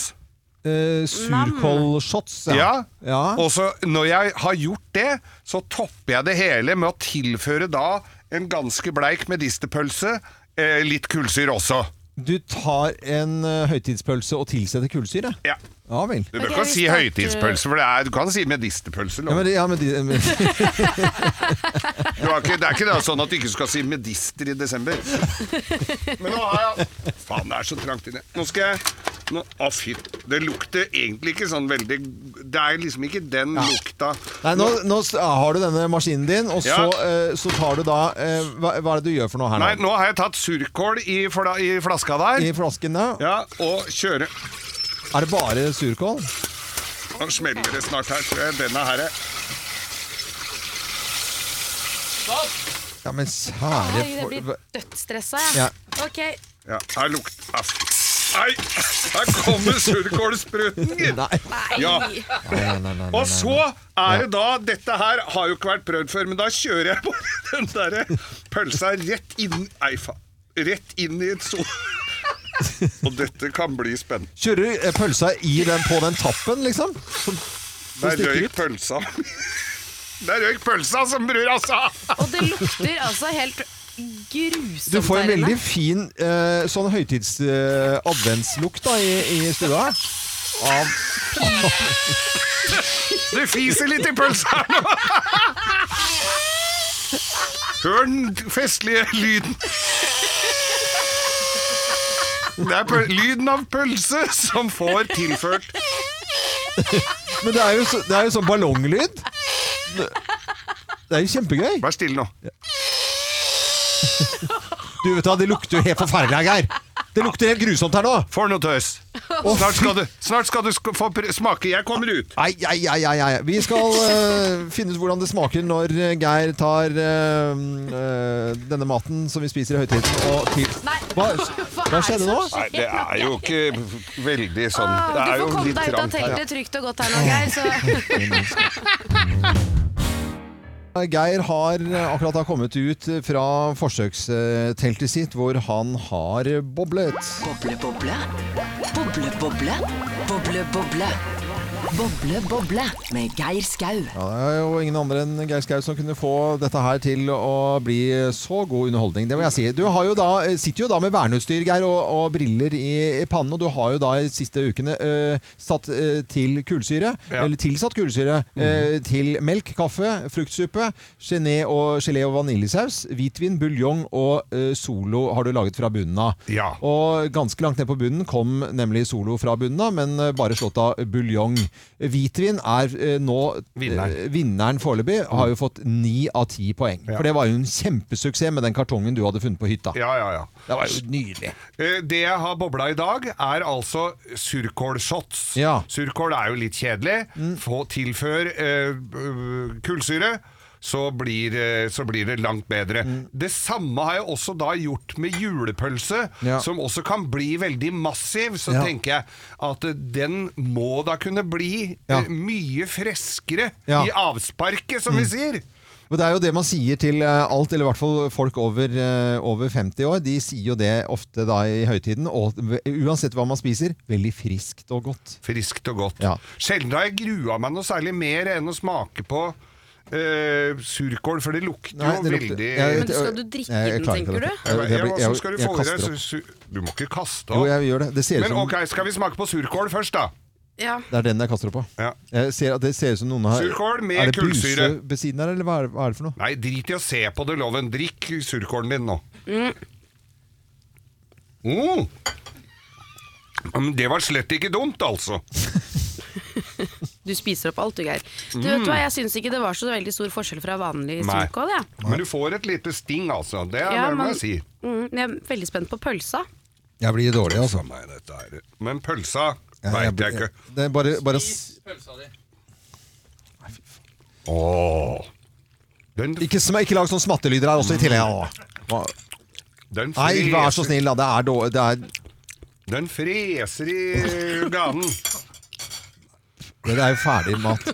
Eh, Surkålshots, Ja. Og så når jeg har gjort det, så topper jeg det hele med å tilføre da en ganske bleik medisterpølse, eh, litt kullsyre også. Du tar en eh, høytidspølse og tilsetter kullsyre? Ja. Ja vel. Du bør ikke si høytidspølse, for det er, du kan si medisterpølse. Ja, men, det- ja, men, de- eh, men Du har ikke, det er ikke da sånn at du ikke skal si medister i desember. Men nå har jeg Faen, det er så trangt inne. Nå skal jeg nå, Å, fy. Det lukter egentlig ikke sånn veldig Det er liksom ikke den lukta Nei, nå, nå s- har du denne maskinen din, og så, eh, så tar du da eh, hva, hva er det du gjør for noe her nå? Nei, nå har jeg tatt surkål i, fla, i flaska der. I flasken, ja. Og kjøre Er det bare surkål? Nå smeller det snart her, tror jeg. Denne her er Ja, men kjære Oi, jeg blir dødsstressa, jeg. Ja. Ok. Ja, her lukter Aff. Nei, her kommer surkålspruten, gitt! Nei. Ja. nei, nei, nei, nei, Og så er det da Dette her har jo ikke vært prøvd før, men da kjører jeg bare den derre pølsa rett inn Nei, faen. Rett inn i et sol... Og dette kan bli spennende. Kjører du eh, pølsa i den, på den tappen, liksom? Som, som Der stikker røyk ut? pølsa. Der røyk pølsa, som brura sa! Og det lukter altså helt grusomt Du får en der inne. veldig fin eh, sånn høytids-adventslukt da i, i stua. Av Det fiser litt i pølsa her nå! Hør den festlige lyden. Det er pøl lyden av pølse som får tilført Men det er jo, så, det er jo sånn ballonglyd. Det, det er jo kjempegøy. Vær stille nå. Du vet hva, Det lukter jo helt forferdelig her, Geir. Det lukter helt grusomt her nå. For noe tøys. Snart skal du, snart skal du sk få pr- smake. Jeg kommer ut. Ai, ai, ai, ai, ai. Vi skal eh, finne ut hvordan det smaker når eh, Geir tar eh, eh, denne maten som vi spiser i høytiden, og til Hva, hva skjedde nå? Nei, det er jo ikke veldig sånn Det Ah, Du er får jo komme litt deg ut av trangt her. teltet trygt og godt her nå, Geir. Så. Geir har eh, akkurat da kommet ut fra forsøksteltet sitt, hvor han har boblet. Boble, boble. Boble, boble. Boble, boble. Boble, boble. Med Geir Skau. Ja, det er jo ingen andre enn Geir Skau som kunne få dette her til å bli så god underholdning. Det må jeg si. Du har jo da, sitter jo da med verneutstyr, Geir, og, og briller i, i pannen, og du har jo da i siste ukene eh, satt eh, til kullsyre, Ja. Mm. eller tilsatt kullsyre, eh, til melk, kaffe, fruktsuppe, gelé og, gelé og vaniljesaus, hvitvin, buljong og eh, solo har du laget fra bunnen av. Ja. Og ganske langt ned på bunnen kom nemlig Solo fra bunnen av, men eh, bare slått av buljong. Hvitvin er eh, nå eh, vinneren foreløpig. Har jo fått ni av ti poeng. For det var jo en kjempesuksess med den kartongen du hadde funnet på hytta. Ja, ja, ja. Det var jo nydelig. Eh, Det jeg har bobla i dag, er altså surkålshots. Surkål er jo litt kjedelig. Mm. Få tilfør eh, øh, kullsyre. Så blir, eh, så blir det langt bedre. Mm. Det samme har jeg også da gjort med julepølse, Ja. som også kan bli veldig massiv. Så Ja. tenker jeg at eh, den må da kunne bli Ja. eh, mye freskere Ja. Mm. i avsparket, som vi sier. Og det er jo det man sier til eh, alt, eller i hvert fall folk over, eh, over 50 år. De sier jo det ofte da i høytiden. Og uansett hva man spiser, veldig friskt og godt. Friskt og godt. Ja. Sjelden har jeg grua meg noe særlig mer enn å smake på eh, surkål, for det lukter Nei, jo det lukter- veldig jeg- Men skal du drikke jeg- jeg den, klarer ikke tenker dette. du? Jeg- jeg- Ja, hva jeg- skal du jeg få i deg? kaster opp. Su- su- Du må ikke kaste Jo, opp. jeg gjør det. Det ser ut Men som- ok, skal vi smake på surkål først, da? Ja. Det er den jeg kaster opp på. Jeg ser at det ser ut som noen har Surkål med Er det kullsyre. bruse ved siden her, eller hva er, hva er det for noe? Nei, drit i å se på det, Loven. Drikk surkålen din nå. Mm. Men det var slett ikke dumt, altså. Du spiser opp alt, du, Geir. Du, Mm. vet du hva, Jeg syns ikke det var så veldig stor forskjell fra vanlig Nei. surkål. Ja. Men du får et lite sting, altså. Det er Ja, det må men- jeg si. Mm, men jeg er veldig spent på pølsa. Jeg blir dårlig, altså. Nei, dette er Men pølsa veit jeg ikke. Det er bare, bare Åh. Ikke, sm- ikke lag sånne smattelyder her også i tillegg. ja. Hva- Den Nei, ikke vær så freser- snill, da. Det er dårlig. Det er, Den freser i ganen. det er jo ferdig mat.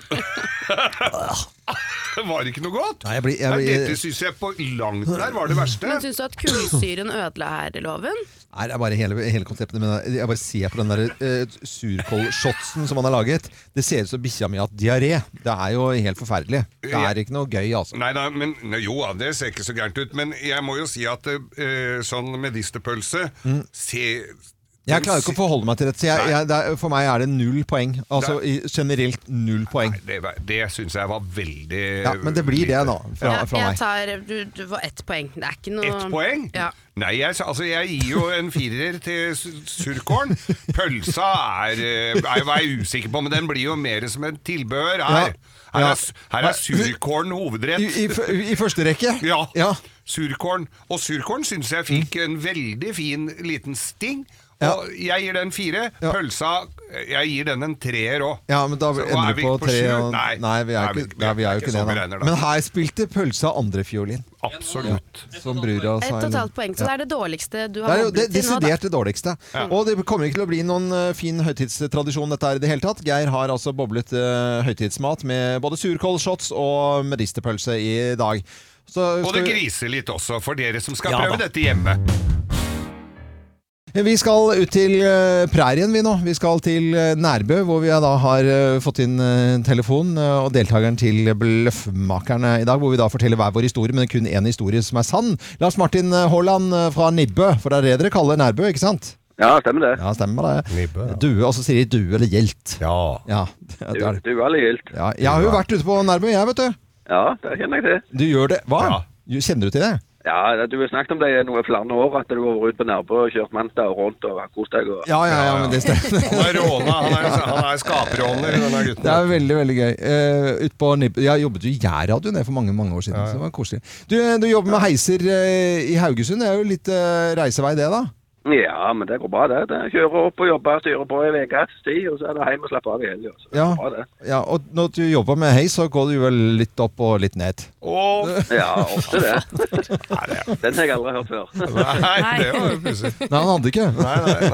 Det var ikke noe godt. Nei, jeg blir- jeg Nei, blir- Dette syns jeg på langt nær var det verste. Men syns du at kullsyren ødela her, Loven? Nei, det er bare hele, hele konseptet med den der- Jeg bare ser på den der eh, surkålshotsen som han har laget. Det ser ut som bikkja mi har hatt diaré. Det er jo helt forferdelig. Det er ikke noe gøy, altså. Nei, nei, men nei, Jo, ja, det ser ikke så gærent ut, men jeg må jo si at eh, sånn medisterpølse Mm. se, Jeg klarer ikke å forholde meg til dette. Så jeg, jeg, det er, for meg er det null poeng. Altså i, generelt null poeng. Det, var- det syns jeg var veldig Ja, men det blir det, da. Fra, Ja, fra jeg meg. tar, du, du får ett poeng. Det er ikke noe Ett poeng? Ja. Nei, jeg, altså, jeg gir jo en firer til su- surkålen. Pølsa er, eh, er, er jeg usikker på, men den blir jo mer som en tilbehør Ja. her. Her Ja. er, s- her er surkålen hovedrett. I, i, f- I første rekke? Ja. Surkålen. Og surkålen syns jeg fikk en veldig fin liten sting. Og jeg gir den fire. Pølsa eh, Jeg gir den en treer òg. Ja, men da ender vi på tre og Nei, Nei, vi er, ikke, nei, vi er jo ikke det, sånn vi da. regner, da. Men her spilte pølsa andrefiolin. Absolutt. Ja, som brura Ett sa. og et halvt poeng, så det Ja. er det dårligste du Det har er jo vært det til nå. Da. desidert det dårligste. Og det kommer ikke til å bli noen eh, fin høytidstradisjon dette her i det hele tatt. Geir har altså boblet eh, høytidsmat med både surkålshots og medisterpølse i dag. Så Og skal det vi- griser litt også, for dere som skal Ja, prøve da. dette hjemme. Eh, Vi skal ut til eh, prærien vi nå. Vi skal til eh, Nærbø, hvor vi da har eh, fått inn eh, en telefon. eh, Og deltakeren til Bløffmakerne i dag, hvor vi da forteller hver vår historie, men kun én historie som er sann. Lars Martin eh, Haaland eh, fra Nibbø, for det er det dere kaller Nærbø, ikke sant? Ja, stemmer det. Ja, stemmer det. Due, og så sier de due eller gjelt. Ja. det Du, er det. du er veldig gildt. Ja, jeg har jo vært ute på Nærbø, jeg, vet du. Ja, det kjenner jeg til. Du gjør det. Hva? Du- Kjenner du til det? Ja, det- Du har snakket om det i noe flere år, at du har vært ute på Nærbø og kjørt Manta og rundt og kost deg. Og... Ja, ja, ja, men det stemmer. Han er råna, han er, han er skapråner, denne gutten. Det er veldig, veldig gøy. Eh, ut på Nibb jeg jobbet jo i Jærradioen jeg, for mange mange år siden. Så det var koselig. Du, du jobber med heiser eh, i Haugesund. Det er jo litt eh, reisevei, det, da? Ja, men det går bra, det. det. Kjører opp og jobber, styrer på i ukes tid, og så er det hjem og slappe av i helga. så det Ja. går Bra, det. ja. Og når du jobber med heis, så går du vel litt opp og litt ned? Ja, ofte det. Den har jeg aldri hørt før. Nei, det var jo plutselig. Nei, han hadde ikke.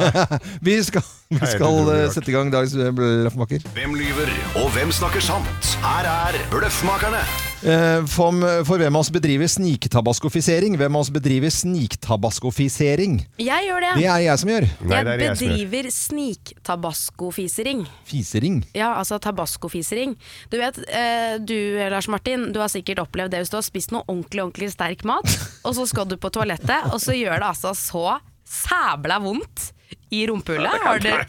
vi skal, vi det skal tror jeg eh, ikke. sette i gang dagens eh, bløffmaker. Hvem lyver, og hvem snakker sant? Her er Bløffmakerne. Eh, For, for hvem av oss bedriver sniktabaskofisering? Hvem av oss bedriver sniktabaskofisering? Jeg gjør det. Det er jeg som gjør. jeg bedriver sniktabaskofisering. Fisering. Ja, altså tabascofisering. Du vet, eh, du Lars Martin, du har sikkert opplevd det hvis du har spist noe ordentlig ordentlig sterk mat, og så skal du på toalettet, og så gjør det altså så sæbla vondt i rumpehullet. Har dere-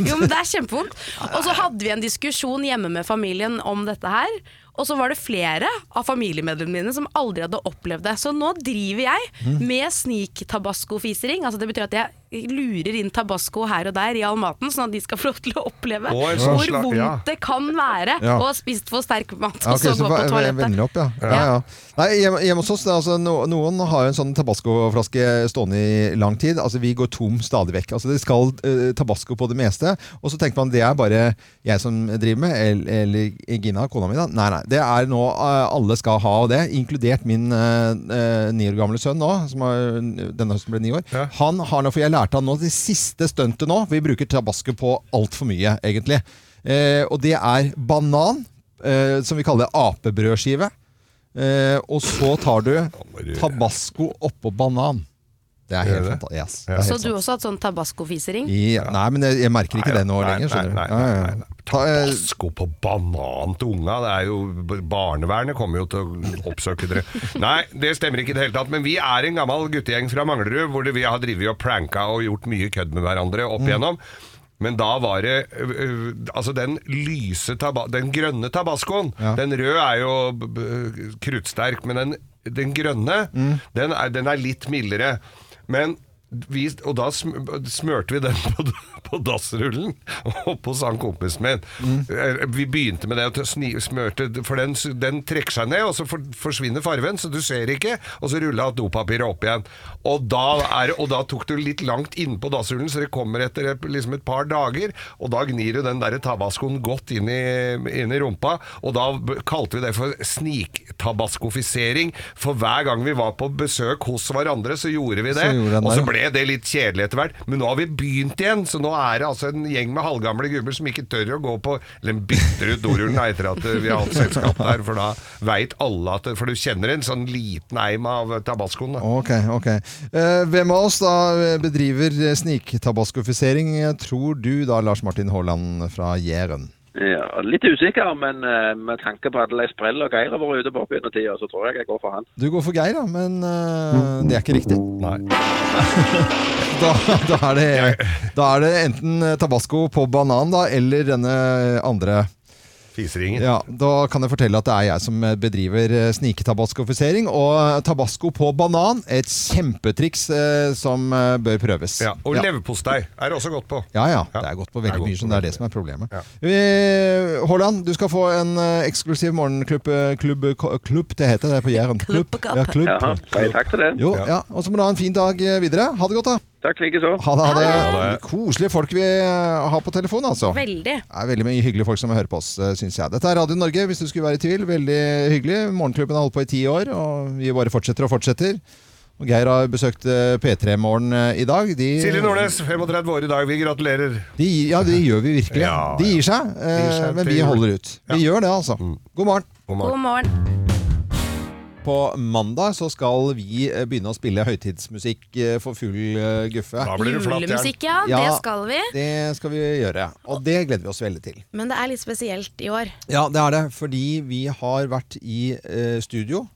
Jo, men det er kjempevondt. Og så hadde vi en diskusjon hjemme med familien om dette her. Og så var det flere av familiemedlemmene mine som aldri hadde opplevd det. Så nå driver jeg Mm. med snik-tabasco-fisering. Altså det betyr at jeg lurer inn tabasco her og der i all maten, sånn at de skal få lov til å oppleve Å, en sånn hvor slag- vondt ja. det kan være Ja. å ha spist for sterk mat Ja, og ok, så gå va- på va- toalettet. vender opp, ja. Ja, ja. Nei, hjemme, hjemme hos oss, det er altså, no, noen har jo en sånn tabascoflaske stående i lang tid. Altså, vi går tom stadig vekk. Altså, det skal eh, tabasco på det meste. Og så tenker man det er bare jeg som driver med, eller, eller Gina, kona mi. da. Nei, nei. Det er nå eh, alle skal ha og det, inkludert min eh, eh, ni år gamle sønn nå, som har, denne høsten ble ni år. Han har nå, for jeg lærte han nå det siste stuntet nå, vi bruker tabasco på altfor mye, egentlig. Eh, og det er banan, eh, som vi kaller apebrødskive. Eh, og så tar du tabasco oppå banan. Det er helt Gjør det? fantastisk. Yes, det er helt Så sant. du også har hatt sånn tabascofisering? I, nei, men jeg, jeg merker ikke det nå lenger. skjønner du? nei, Ja, eh, ja, ja. Tabasco på banan til unga, det er jo Barnevernet kommer jo til å oppsøke dere. Nei, det stemmer ikke i det hele tatt, men vi er en Mm. gammel guttegjeng fra Manglerud hvor det vi har drevet og pranka og gjort mye kødd med hverandre opp igjennom. Men da var det øh, Altså, den lyse taba Den grønne tabascoen Den røde er jo b- b- kruttsterk, men den, den grønne, den, er, den er litt mildere. Men vi, og da sm- smørte vi den på, på dassrullen oppe hos han kompisen min. Eh, Vi begynte med det og sni- smørte For den, s- den trekker seg ned, og så for, forsvinner farven, så du ser ikke. Og så rulla dopapiret opp igjen. Og da, er, det- og da tok du litt langt innpå dassrullen, så det kommer etter et- liksom et par dager. Og da gnir du den der tabascoen godt inn i, inn i rumpa. Og da b- kalte vi det for sniktabaskofisering. For hver gang vi var på besøk hos hverandre, så gjorde vi det. Så gjorde den og der, så ja. ble det litt kjedelig etter hvert. Men nå har vi begynt igjen, så nå er det altså en gjeng med halvgamle gubber som ikke tør å gå på Eller de bytter ut dorullen da, etter at vi har hatt selskap der, for da veit alle at For du kjenner en sånn liten eim av tabascoen, da. Ok, ok. Eh, hvem av oss da bedriver eh, sniktabaskofisering, eh, tror du da, Lars Martin Haaland fra Jæren? Ja, litt usikker, men eh, med tanke på alle de sprell og Geir har vært ute på opp gjennom tida, så tror jeg jeg går for han. Du går for Geir, da, men eh, det er ikke riktig. Nei. da, da, er det, da er det enten eh, tabasco på banan, da, eller denne andre. Fiseringen. Ja, Da kan jeg fortelle at det er jeg som bedriver eh, sniketabaskofisering. Og eh, tabasco på banan, et kjempetriks eh, som eh, bør prøves. Ja, og leverpostei er det også godt på. Ja, ja. Det er godt på veldig mye, så det er det som er problemet. Ja. Eh, Haaland, du skal få en eh, eksklusiv morgenklubb eh, klubb, ko- klubb, det heter det på Jæren. Klubb. Ja, klubb. Jaha, nei, takk til det. Jo, ja. Og så må du ha en fin dag eh, videre. Ha det godt, da. Takk likeså. Ha det, ha det. Koselige folk vi eh, har på telefon, altså. Veldig. Det er veldig mye hyggelige folk som hører på oss, eh, synes jeg. Dette er Radio Norge, hvis du skulle være i tvil. Veldig hyggelig. Morgenklubben har holdt på i ti år, og vi bare fortsetter og fortsetter. Og Geir har besøkt eh, P3 Morgen eh, i dag. De, Silje Nordnes, 35 år i dag, vi gratulerer. De, ja, det gjør vi virkelig. Ja, De gir seg, eh, De gir seg men til vi jul. Mm. holder ut. Vi gjør det, altså. God morgen. God morgen. På mandag så skal vi eh, begynne å spille høytidsmusikk eh, for full eh, guffe. blir det flatt, Jern. Julemusikk, ja. Det skal vi. Det skal vi gjøre. Og det gleder vi oss veldig til. Men det er litt spesielt i år. Ja, det er det. Fordi vi har vært i eh, studio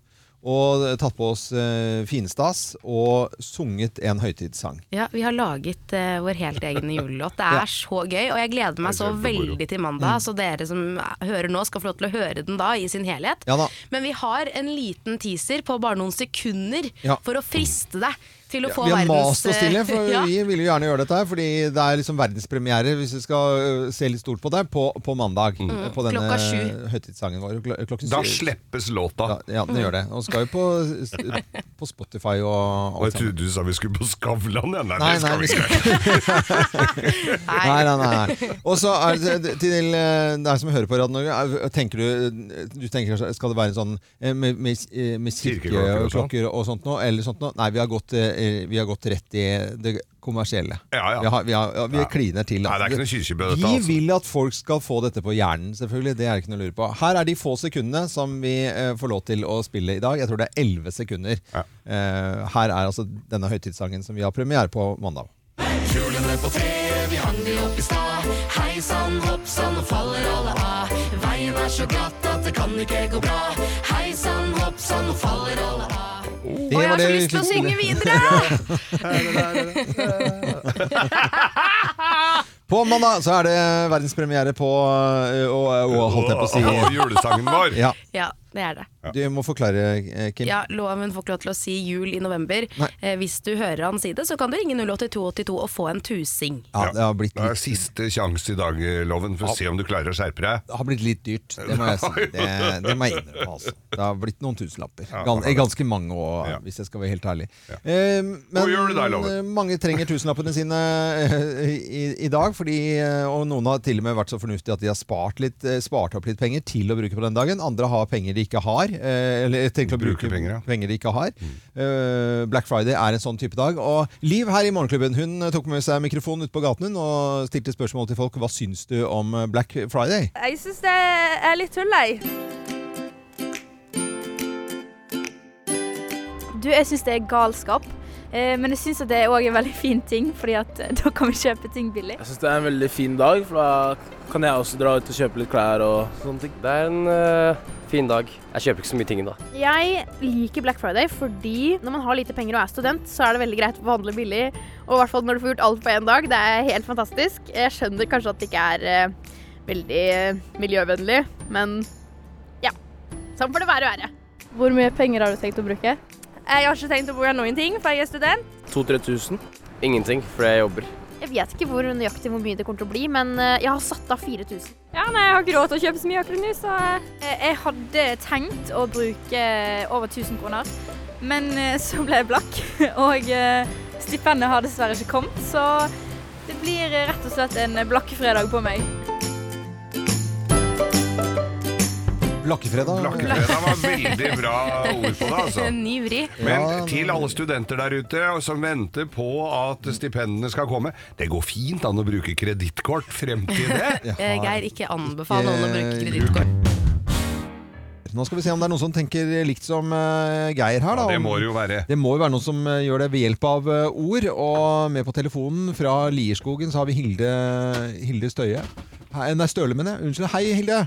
og tatt på oss eh, finstas og sunget en høytidssang. Ja, Vi har laget eh, vår helt egen julelåt. Det er så gøy, og jeg gleder meg så veldig til Mm. mandag. Så dere som hører nå, skal få lov til å høre den da i sin helhet. Ja da. Men vi har en liten teaser på bare noen sekunder Ja. for å friste deg til å få Vi har verdens eh, mast oss til det, for Ja. vi ville jo gjerne gjøre dette her. Fordi det er liksom verdenspremiere, hvis vi skal ø, se litt stort på det, på, på mandag. eh, Mm. På denne Klokka sju. høytidssangen vår. Klo- Klokken Da sju. slippes låta. Ja, Mm. den gjør det. Og skal jo på, s- på Spotify og Og jeg trodde du sa vi skulle på Skavlan, ja. Nei, Nei, det nei, vi skal vi skal ikke. Nei, nei, nei. nei. Og så er det til eh, deg som hører på Radio Norge, er- eh, tenker du, du tenker kanskje, Skal det være en sånn eh, med, med, eh, med Kirkeklokker og sånn. kirkeklokker og, sånt noe? Eller sånt noe? Nei, vi har, gått, eh, vi har gått rett i det kommersielle. Ja, ja. Vi, har, vi, har, ja, vi Ja. kliner til. Nei, det er ikke noe kirkebø, dette, Vi altså. vil at folk skal få dette på hjernen, selvfølgelig. Det er det ikke noe å lure på. Her er de få sekundene som vi eh, får lov til å spille i dag. Jeg tror det er elleve sekunder. Eh, her er altså denne høytidssangen som vi har premiere på mandag. Kulene på treet, vi hang de opp i stad. Hei sann, hopp sann, nå faller alle av. Veien er så glatt at det kan ikke gå bra. Hei sann, hopp sann, nå faller alle av. Det Og jeg var har det så vi lyst til å skulle- synge På mandag så er det verdenspremiere på eh, Og, og holdt jeg på å si Og julesangen vår. Ja. ja, det er det. Du må forklare, eh, Kim. Ja, Loven får ikke lov til å si jul i november. Eh, hvis du hører han si det, så kan du ringe 08282 og få en tusing. Ja, det har blitt Det er siste sjanse i dag, Loven, for å se om du klarer å skjerpe deg. Det har blitt litt dyrt, det må jeg si. Det, det må jeg innrømme, altså. Det har blitt noen tusenlapper. Gan, Ja, det har det. ganske mange år, hvis jeg skal være helt ærlig. Eh, God jul, da, Loven. eh, mange trenger tusenlappene sine eh, i, i dag, fordi, eh, og noen har til og med vært så fornuftige at de har spart, litt, eh, spart opp litt penger til å bruke på den dagen. Andre har penger de ikke har, eh, eller tenker å bruke penger, de ikke har. Mm. Eh, Black Friday er en sånn type dag. Og Liv her i Morgenklubben hun eh, tok med seg mikrofonen ut på gaten hun, og stilte spørsmål til folk. Hva syns du om eh, Black Friday? Jeg syns det er litt tull, jeg. Du, jeg syns det er galskap. Eh, Men jeg syns at det òg er en veldig fin ting, fordi at da kan vi kjøpe ting billig. Jeg syns det er en veldig fin dag, for da kan jeg også dra ut og kjøpe litt klær og sånne ting. Det er en eh, fin dag. Jeg kjøper ikke så mye ting da. Jeg liker Black Friday fordi når man har lite penger og er student, så er det veldig greit å handle billig. Og i hvert fall når du får gjort alt på én dag. Det er helt fantastisk. Jeg skjønner kanskje at det ikke er eh, veldig eh, miljøvennlig, men ja. Sånn får det være å være. Hvor mye penger har du tenkt å bruke? Eh, Jeg har ikke tenkt å bruke noen ting, for jeg er student. 2000-3000? Ingenting, for jeg jobber. Jeg vet ikke hvor nøyaktig hvor mye det kommer til å bli, men eh, jeg har satt av 4000. Ja, nei, jeg har ikke råd til å kjøpe så mye akkurat nå, så eh, Jeg hadde tenkt å bruke over 1000 kroner, men eh, så ble jeg blakk. Og eh, stipendet har dessverre ikke kommet, så det blir eh, rett og slett en blakkefredag på meg. Blakkefredag. Blakkefredag var veldig bra ord på det, altså. Ny vri. Men til alle studenter der ute og som venter på at stipendene skal komme Det går fint an å bruke kredittkort frem til det. Eh, Geir, ikke anbefal noen å eh, bruke kredittkort. Nå skal vi se om det er noen som tenker likt som eh, Geir her. Da. Ja, det må det jo være. Det må jo være noen som eh, gjør det ved hjelp av eh, ord. Og med på telefonen fra Lierskogen så har vi Hilde, Hilde Støye. Hei, nei, Støle, mener jeg. Unnskyld. Hei, Hilde.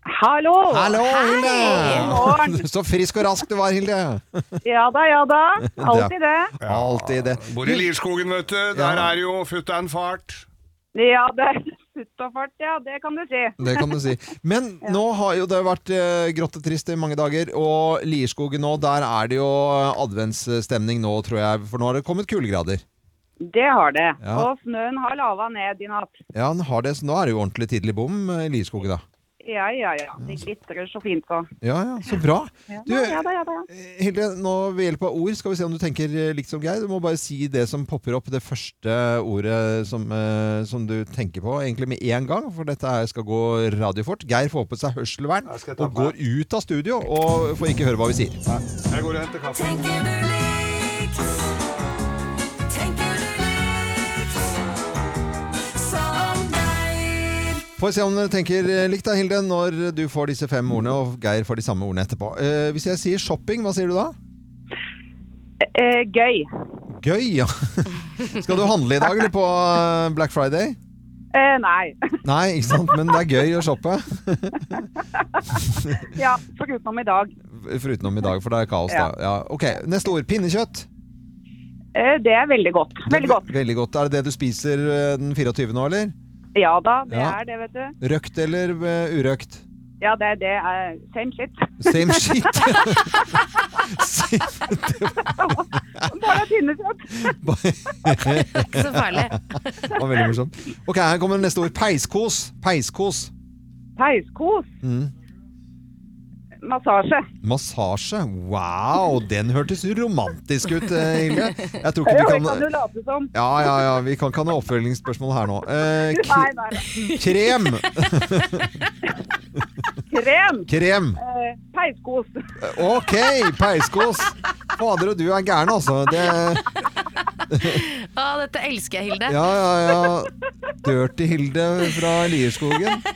Hallo! Hallo, Hilde! God morgen. Så frisk og rask du var, Hilde. Ja da, ja da. Alltid det. Alltid det. Bor i Lierskogen, vet du. Der er jo futter'n fart. Ja, det er futt og fart, ja. Det kan du si. Det kan du si. Men nå har jo det vært eh, grottetrist i mange dager, og Lierskogen nå, der er det jo eh, adventsstemning nå, tror jeg. For nå har det kommet kuldegrader. Det har det. Ja. Og snøen har lava ned i natt. Ja, den har det, så nå er det jo ordentlig tidlig bom eh, i Lierskogen, da. Ja, ja, ja. De glitrer så fint så. Ja, ja, så bra. Ja, Du, eh, ja da, ja da. Hilde, nå ved hjelp av ord skal vi se om du tenker eh, likt som Geir. Du må bare si det som popper opp, det første ordet som, eh, som du tenker på, egentlig med en gang, for dette her skal gå radiofort. Geir får på seg hørselvern Jeg skal ta og på går ut av studio og får ikke høre hva vi sier. Jeg går og henter kaffe. Får se om du tenker eh, likt da, Hilde, når du får disse fem ordene, og Geir får de samme ordene etterpå. Eh, hvis jeg sier shopping, hva sier du da? Eh, gøy. Gøy, ja. Skal du handle i dag, eller på eh, Black Friday? Eh, nei. Nei, ikke sant, men det er gøy å shoppe. Ja, foruten om i dag. Foruten om i dag, for det er kaos da. Ja. Ja, ok, neste ord. Pinnekjøtt. Eh, det er veldig godt. Veldig godt. Veldig godt. Er det det du spiser eh, den 24. nå, eller? Ja da, det Ja. er det, vet du. Røkt eller eh, urøkt? Ja, det, det er same shit. Same shit. Bare pinnekjøtt. Ikke så farlig. det var veldig morsomt. Ok, her kommer neste ord. Peiskos. Peiskos. Peiskos. Mm. Massasje. Massasje? Wow, den hørtes romantisk ut, eh, Hilde. Jeg Jo, tror ikke det vi kan du kan late som. Ja, ja, ja, vi kan ikke ha noe oppfølgingsspørsmål her nå. Eh, Nei, kre- nei. krem! Krem. Krem. Eh, peiskos. Ok, peiskos. Fader, og du er gæren, altså. Det, Å, dette elsker jeg, Hilde. ja, ja, ja. Dirty Hilde fra Lierskogen.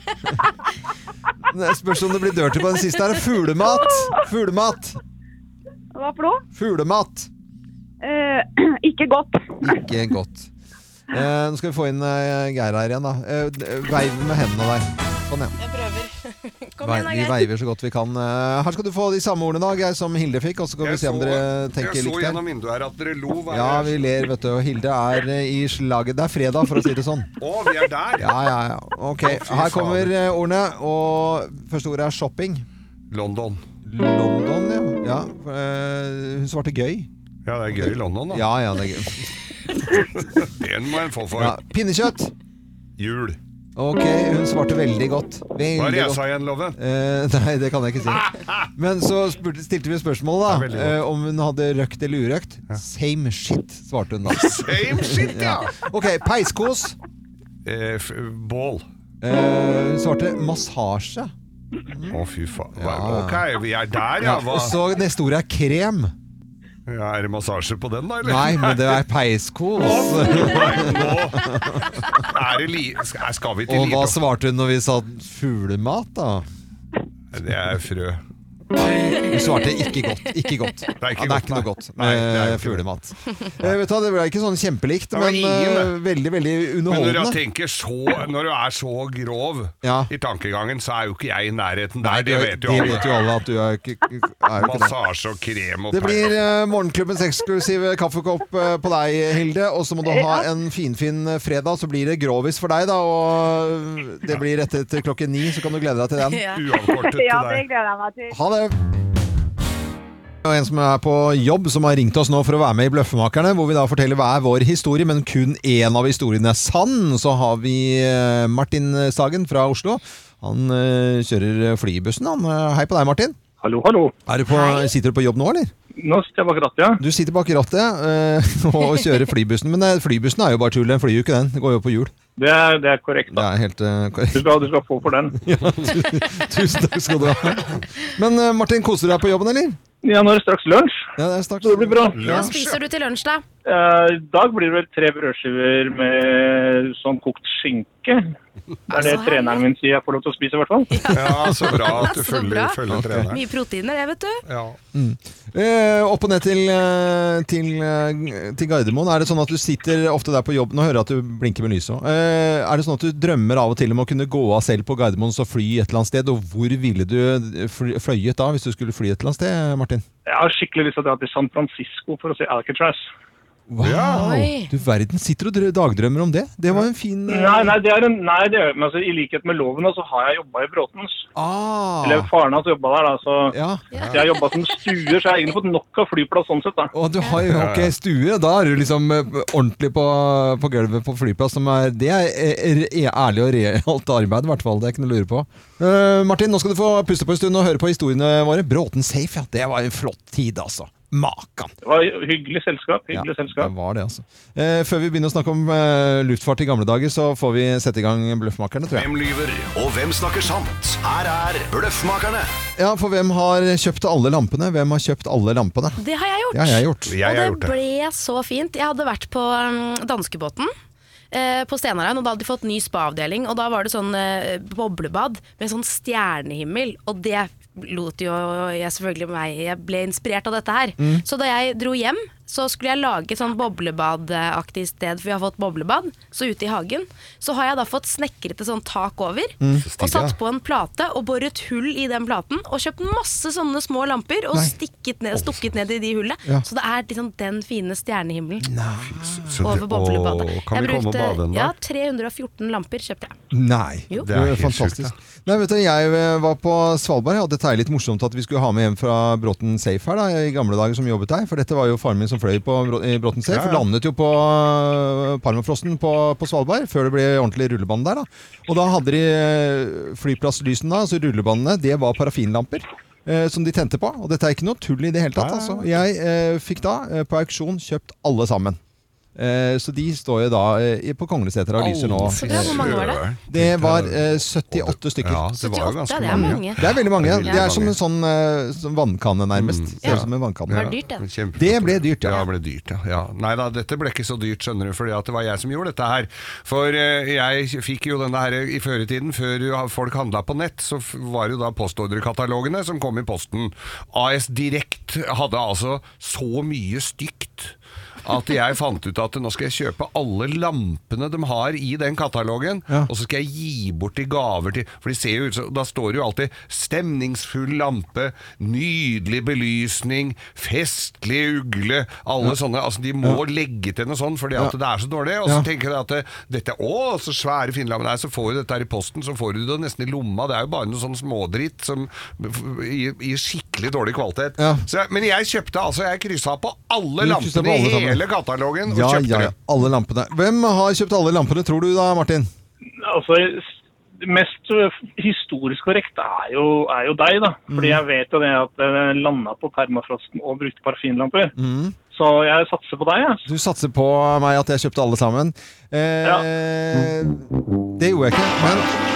Det spørs om det blir dirty på den siste her. Fuglemat! Fuglemat! Hva for noe? Fuglemat! Eh, ikke godt. Ikke godt. Eh, nå skal vi få inn eh, Geir her igjen, da. Eh, d- veiv med hendene der. Sånn, ja. Jeg prøver. Kom Vei- igjen, da, vi Geir. veiver så godt vi kan. Eh, her skal du få de samme ordene, da, Geir, som Hilde fikk. Og så kan vi se om dere tenker jeg så likt her. gjennom vinduet her at dere lo. hva Ja, jeg- vi ler, vet du. Og Hilde er eh, i slaget. Det er fredag, for å si det sånn. Å, vi er der! Ja, ja, ja. Ok, her kommer eh, ordene. Og første ordet er shopping. London. London, ja. ja eh, hun svarte gøy. Ja, det er gøy i London, da. Ja, ja, det er gøy. Den må en få for. Ja, pinnekjøtt. Jul. Ok, hun svarte veldig godt. Veldig Hva er det jeg godt. sa igjen, Loven? Eh, nei, det kan jeg ikke si. Men så spurte, stilte vi spørsmålet da, eh, om hun hadde røkt eller urøkt. Same shit, svarte hun da. Same shit, ja. Ok, peiskos. Eh, f bål. Eh, hun svarte massasje. Å, fy faen. Ja. Ok, vi er der, ja. Ja, Hva? og så neste ord er krem. Ja, er det massasje på den, da? Eller? Nei, men det er peiskos. Er det li skal skal vi til Og hva Lido? svarte hun når vi sa fuglemat, da? Det er frø. Hun svarte ikke godt. Ikke godt. Det er ikke, ja, det er ikke noe godt med fuglemat. Eh, vet du, hva, det ble ikke sånn kjempelikt, Det var men ingen, eh, veldig veldig Men når underholdende. du, tenker så, når du er så grov i tankegangen, så er jo ikke jeg i nærheten der. det det- vet jo det Eh, alle. vet jo alle at du er, ikke- er jo ikke det. Massasje og krem og Det blir eh, morgenklubbens eksklusive kaffekopp eh, på deg, Hilde. Og så må du ha en finfin fin eh, fredag, så blir det grovis for deg, da. Og eh, det blir rett etter klokken ni, så kan du glede deg til den. Ja. Ja, det gleder jeg meg til. Ha det! Og en som er på jobb, som har ringt oss nå for å være med i Bløffmakerne, hvor vi da forteller hver vår historie, men kun én av historiene er sann. Så har vi eh, Martin Sagen fra Oslo. Han eh, kjører flybussen, han. Eh, Hei på deg, Martin. Hallo, hallo. Er du på, sitter du på jobb nå, eller? Nå sitter jeg bak rattet, ja. Du sitter bak rattet eh, og kjører flybussen, men eh, flybussen er jo bare tull. Den flyr jo ikke, den. Den går jo på hjul. Det er, det er korrekt. Det er helt eh, korrekt. Du skal, du skal få for den. Ja, tu- tusen takk skal du ha. Men eh, Martin, koser du deg på jobben, eller? Ja, nå er det straks lunsj. Ja, det er straks. Så det blir bra. Hva spiser du til lunsj, da? Eh, I dag blir det vel tre brødskiver med sånn kokt skinke. Det er det treneren min sier jeg får lov til å spise, i hvert fall. Ja, så bra at du Så bra. følger, følger treneren. Mye proteiner, det, vet du. Ja. Eh, opp og ned til, eh, til, eh, til Gardermoen. Er det sånn at du sitter ofte der på jobben og hører at du blinker med lyset? også? Eh, er det sånn at du drømmer av og til om å kunne gå av selv på Gardermoen og fly et eller annet sted? Og hvor ville du fly, fløyet da, hvis du skulle fly et eller annet sted, Martin? Jeg har skikkelig lyst til å dra til San Francisco for å se Alcatraz. Wow! Oi. Du verden, sitter du og drø- dagdrømmer om det? Det var en fin eh, Nei, nei, det er en, nei det er, men altså, i likhet med loven da, så har jeg jobba i Bråtens. Ah. Eller faren hans jobba der, da, så Ja. jeg har jobba som stuer, så jeg har egentlig fått nok av flyplass sånn sett. da. Å, du har jo ok stue. Da er du liksom eh, ordentlig på, på gulvet på flyplass. Som er, det er eh, re- ærlig og realt arbeid, i hvert fall. Det er ikke noe å lure på. Eh, Martin, nå skal du få puste på en stund og høre på historiene våre. Bråten safe, ja. Det var en flott tid, altså. Makan. Det var hyggelig selskap. hyggelig selskap. Det var det, altså. Eh, før vi begynner å snakke om eh, luftfart i gamle dager, så får vi sette i gang Bløffmakerne, tror jeg. Hvem lyver, og hvem snakker sant? Her er Bløffmakerne. Ja, for hvem har kjøpt alle lampene? Hvem har kjøpt alle lampene? Det har jeg gjort. Det har jeg gjort. Altså, og det, ble så fint. Jeg hadde vært på mm, danskebåten. eh, På Stenarein, og da hadde de fått ny spa-avdeling. Og da var det sånn eh, boblebad med sånn stjernehimmel. Og det lot jo jeg selvfølgelig meg Jeg ble inspirert av dette her. Mm. Så da jeg dro hjem, så skulle jeg lage sånn boblebadaktig sted, for vi har fått boblebad. Så ute i hagen. Så har jeg da fått snekret et sånt tak over. Mm. Og satt på en plate og boret hull i den platen. Og kjøpt masse sånne små lamper og Nei. stikket ned, stukket ned i de hullene. Ja. Så det er liksom den fine stjernehimmelen så det- over boblebadet. Åh, kan Jeg vi komme og bade en dag? Ja, 314 lamper kjøpte jeg. Nei, Jo. det er fantastisk. Nei, vet du, jeg eh, var på Svalbard, og dette er litt morsomt at vi skulle ha med hjem fra Bråten Safe her da, i gamle dager som jobbet der, for dette var jo faren min som fløy på Brå- i Bråten Safe, Ja, ja. landet jo på eh, Parmafrosten på, på Svalbard, før det ble ordentlig rullebane der da. Og da hadde de eh, flyplasslysene da, altså rullebanene, det var parafinlamper. eh, Som de tente på, og dette er ikke noe tull i det hele tatt altså. Jeg eh, fikk da eh, på auksjon kjøpt alle sammen Eh, Så de står jo da eh, på Kongleseter og lyser nå. Så bra, hvor mange var det? Det var eh, 78 stykker. Ja, det var jo 78, ganske det er mange. mange. Det er veldig mange. Det er Det veldig er som mange. Mm. en sånn eh, som vannkanne, nærmest. Ser ut som en vannkanne. Ja, kjempe- Det ble dyrt, ja. det ble dyrt, ja. ja. Nei da, dette ble ikke så dyrt, skjønner du, fordi at det var jeg som gjorde dette her. For eh, jeg fikk jo denne her i føretiden, før jo folk handla på nett, så f- var jo da postordrekatalogene som kom i posten. AS Direkt hadde altså så mye stygt at jeg fant ut at nå skal jeg kjøpe alle lampene de har i den katalogen, og så skal jeg gi bort i gaver til For de ser jo ut som Da står det jo alltid 'stemningsfull lampe', 'nydelig belysning', 'festlig ugle' Alle sånne. Altså, de må legge til noe sånt, fordi at Ja. det er så dårlig. Og så Ja. tenker jeg at det, dette Å, så svære finlamper. Nei, så får du dette her i posten, så får du det nesten i lomma. Det er jo bare noe sånn smådritt som, i, i skikkelig dårlig kvalitet. Så, jeg- men jeg kjøpte altså Jeg kryssa på alle Du krysset på lampene alle i sammen. hele katalogen og Ja, kjøpte ja, ja. Alle lampene. Hvem har kjøpt alle lampene, tror du da, Martin? Altså, det mest historisk korrekt er jo, er jo deg, da. Fordi Mm. jeg vet jo det at jeg landa på permafrosten og brukte parafinlamper. Så jeg satser på deg, jeg. Mm. Du satser på meg at jeg kjøpte alle sammen. Eh, Det gjorde jeg ikke, men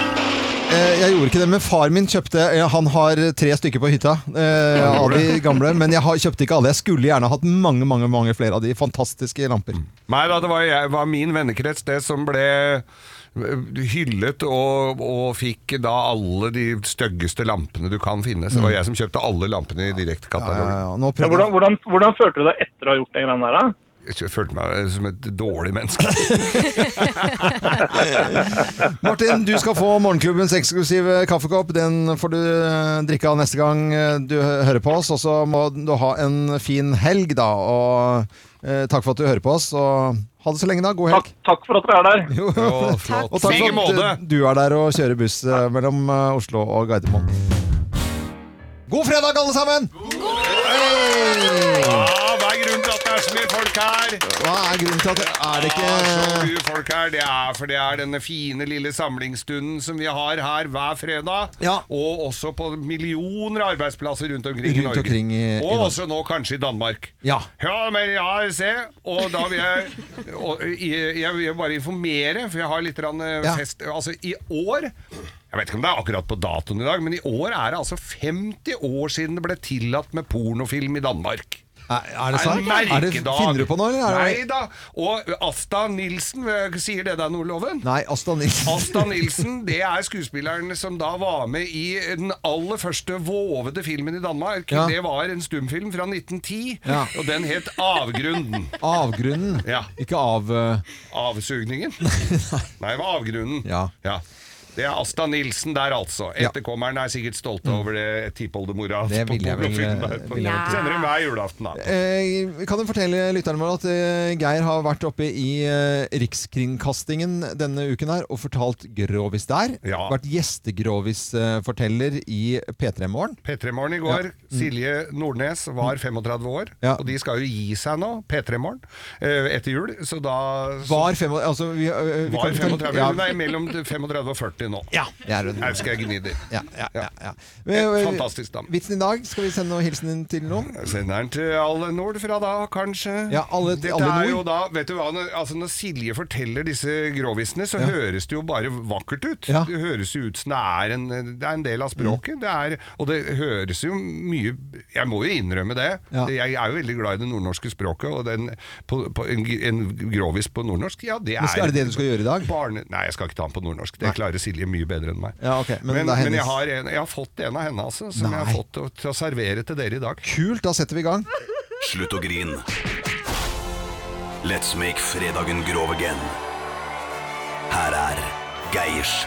Eh, Jeg gjorde ikke det, men far min kjøpte eh, Han har tre stykker på hytta eh, Ja, av gjorde de det. gamle, men jeg har, kjøpte ikke alle. Jeg skulle gjerne hatt mange mange, mange flere av de fantastiske lamper. Nei da, det var, jeg, var min vennekrets det som ble eh, hyllet og, og fikk da alle de styggeste lampene du kan finne. Mm. Så det var jeg som kjøpte alle lampene i direktekatalogen. Eh, Ja, hvordan, hvordan, hvordan følte du deg etter å ha gjort det greiene der, da? Jeg følte meg eh, som et dårlig menneske. Martin, du skal få morgenklubbens eksklusive kaffekopp. Den får du eh, drikke av neste gang eh, du hø- hører på oss. Og så må du ha en fin helg, da. Og eh, takk for at du hører på oss. Og ha det så lenge, da. God helg. Takk for at dere er der. Jo, Og takk for at du er der og kjører buss eh, mellom eh, Oslo og Gardermoen. God fredag, alle sammen! Hei! Ja, hva er grunnen til at det er så mye folk her? Hva er grunnen til at Er det Ja, så ikke mye folk her, det er for det er denne fine lille samlingsstunden som vi har her hver fredag. Og også på millioner av arbeidsplasser rundt omkring i Rundt Norge. omkring i- i og Norge. også nå kanskje i Danmark. Ja. Ja, men ja, se. Og da vil jeg og, jeg, jeg vil bare informere, for jeg har litt grann, eh, Ja. fest Altså, i år jeg vet ikke om det er akkurat på datoen i dag, men i år er det altså 50 år siden det ble tillatt med pornofilm i Danmark. Er, er det sant? en Er det, merkedag. finner du på noe, eller? Er Nei det- da. Og Asta Nilsen, eh, sier det deg noe, Loven? Nei, Asta Nilsen. Asta Nilsen, det er skuespilleren som da var med i den aller første våvede filmen i Danmark. Ja. Det var en stumfilm fra 1910, Ja. og den het Avgrunnen. Avgrunnen. Ikke av eh, Avsugningen? Nei, det var Avgrunnen. Ja. Det er Asta Nilsen der, altså. Etterkommeren er sikkert stolte over det tippoldemora Mm. Det vil jeg vel- eh, vil jeg vel tro. Sender hun hver julaften, da. Eh, kan du fortelle lytterne våre at eh, Geir har vært oppe i eh, Rikskringkastingen denne uken her og fortalt grovis der. Vært gjestegrovis-forteller i P3 Morgen. P3 Morgen i går. Ja. Mm. Silje Nordnes var 35 år, Ja. og de skal jo gi seg nå, P3 Morgen, eh, etter jul. Så da Var fem, altså, vi, eh, vi var kan- 35, ja. Nei, mellom 35 og 40 nå. Ja, det er det. Her skal jeg gni det. Eh, eh, Fantastisk dame. Vitsen i dag, skal vi sende noe hilsen inn til noen? Sender den til alle nord fra da, kanskje? Ja, alle, Dette alle nord. er jo da, vet du hva, når, altså når Silje forteller disse grovisene, så Ja. høres det jo bare vakkert ut. Ja. Mm. Det høres jo ut som det er en, det er en del av språket. Det er, og det høres jo mye Jeg må jo innrømme det. Ja. Jeg er jo veldig glad i det nordnorske språket, og den, på, på, en, en grovis på nordnorsk, ja, det Men er skal- er det det du skal gjøre i dag? Barne, nei, jeg skal ikke ta den på nordnorsk. Det klarer Silje mye bedre enn meg. Ja, ok, men men, det er men jeg, hennes. har en, jeg har fått en av henne, altså, som jeg Nei. har fått til å- til å servere til dere i dag. Kult, da setter vi i gang. Slutt å grin. Let's make fredagen grov again. Her er Geirs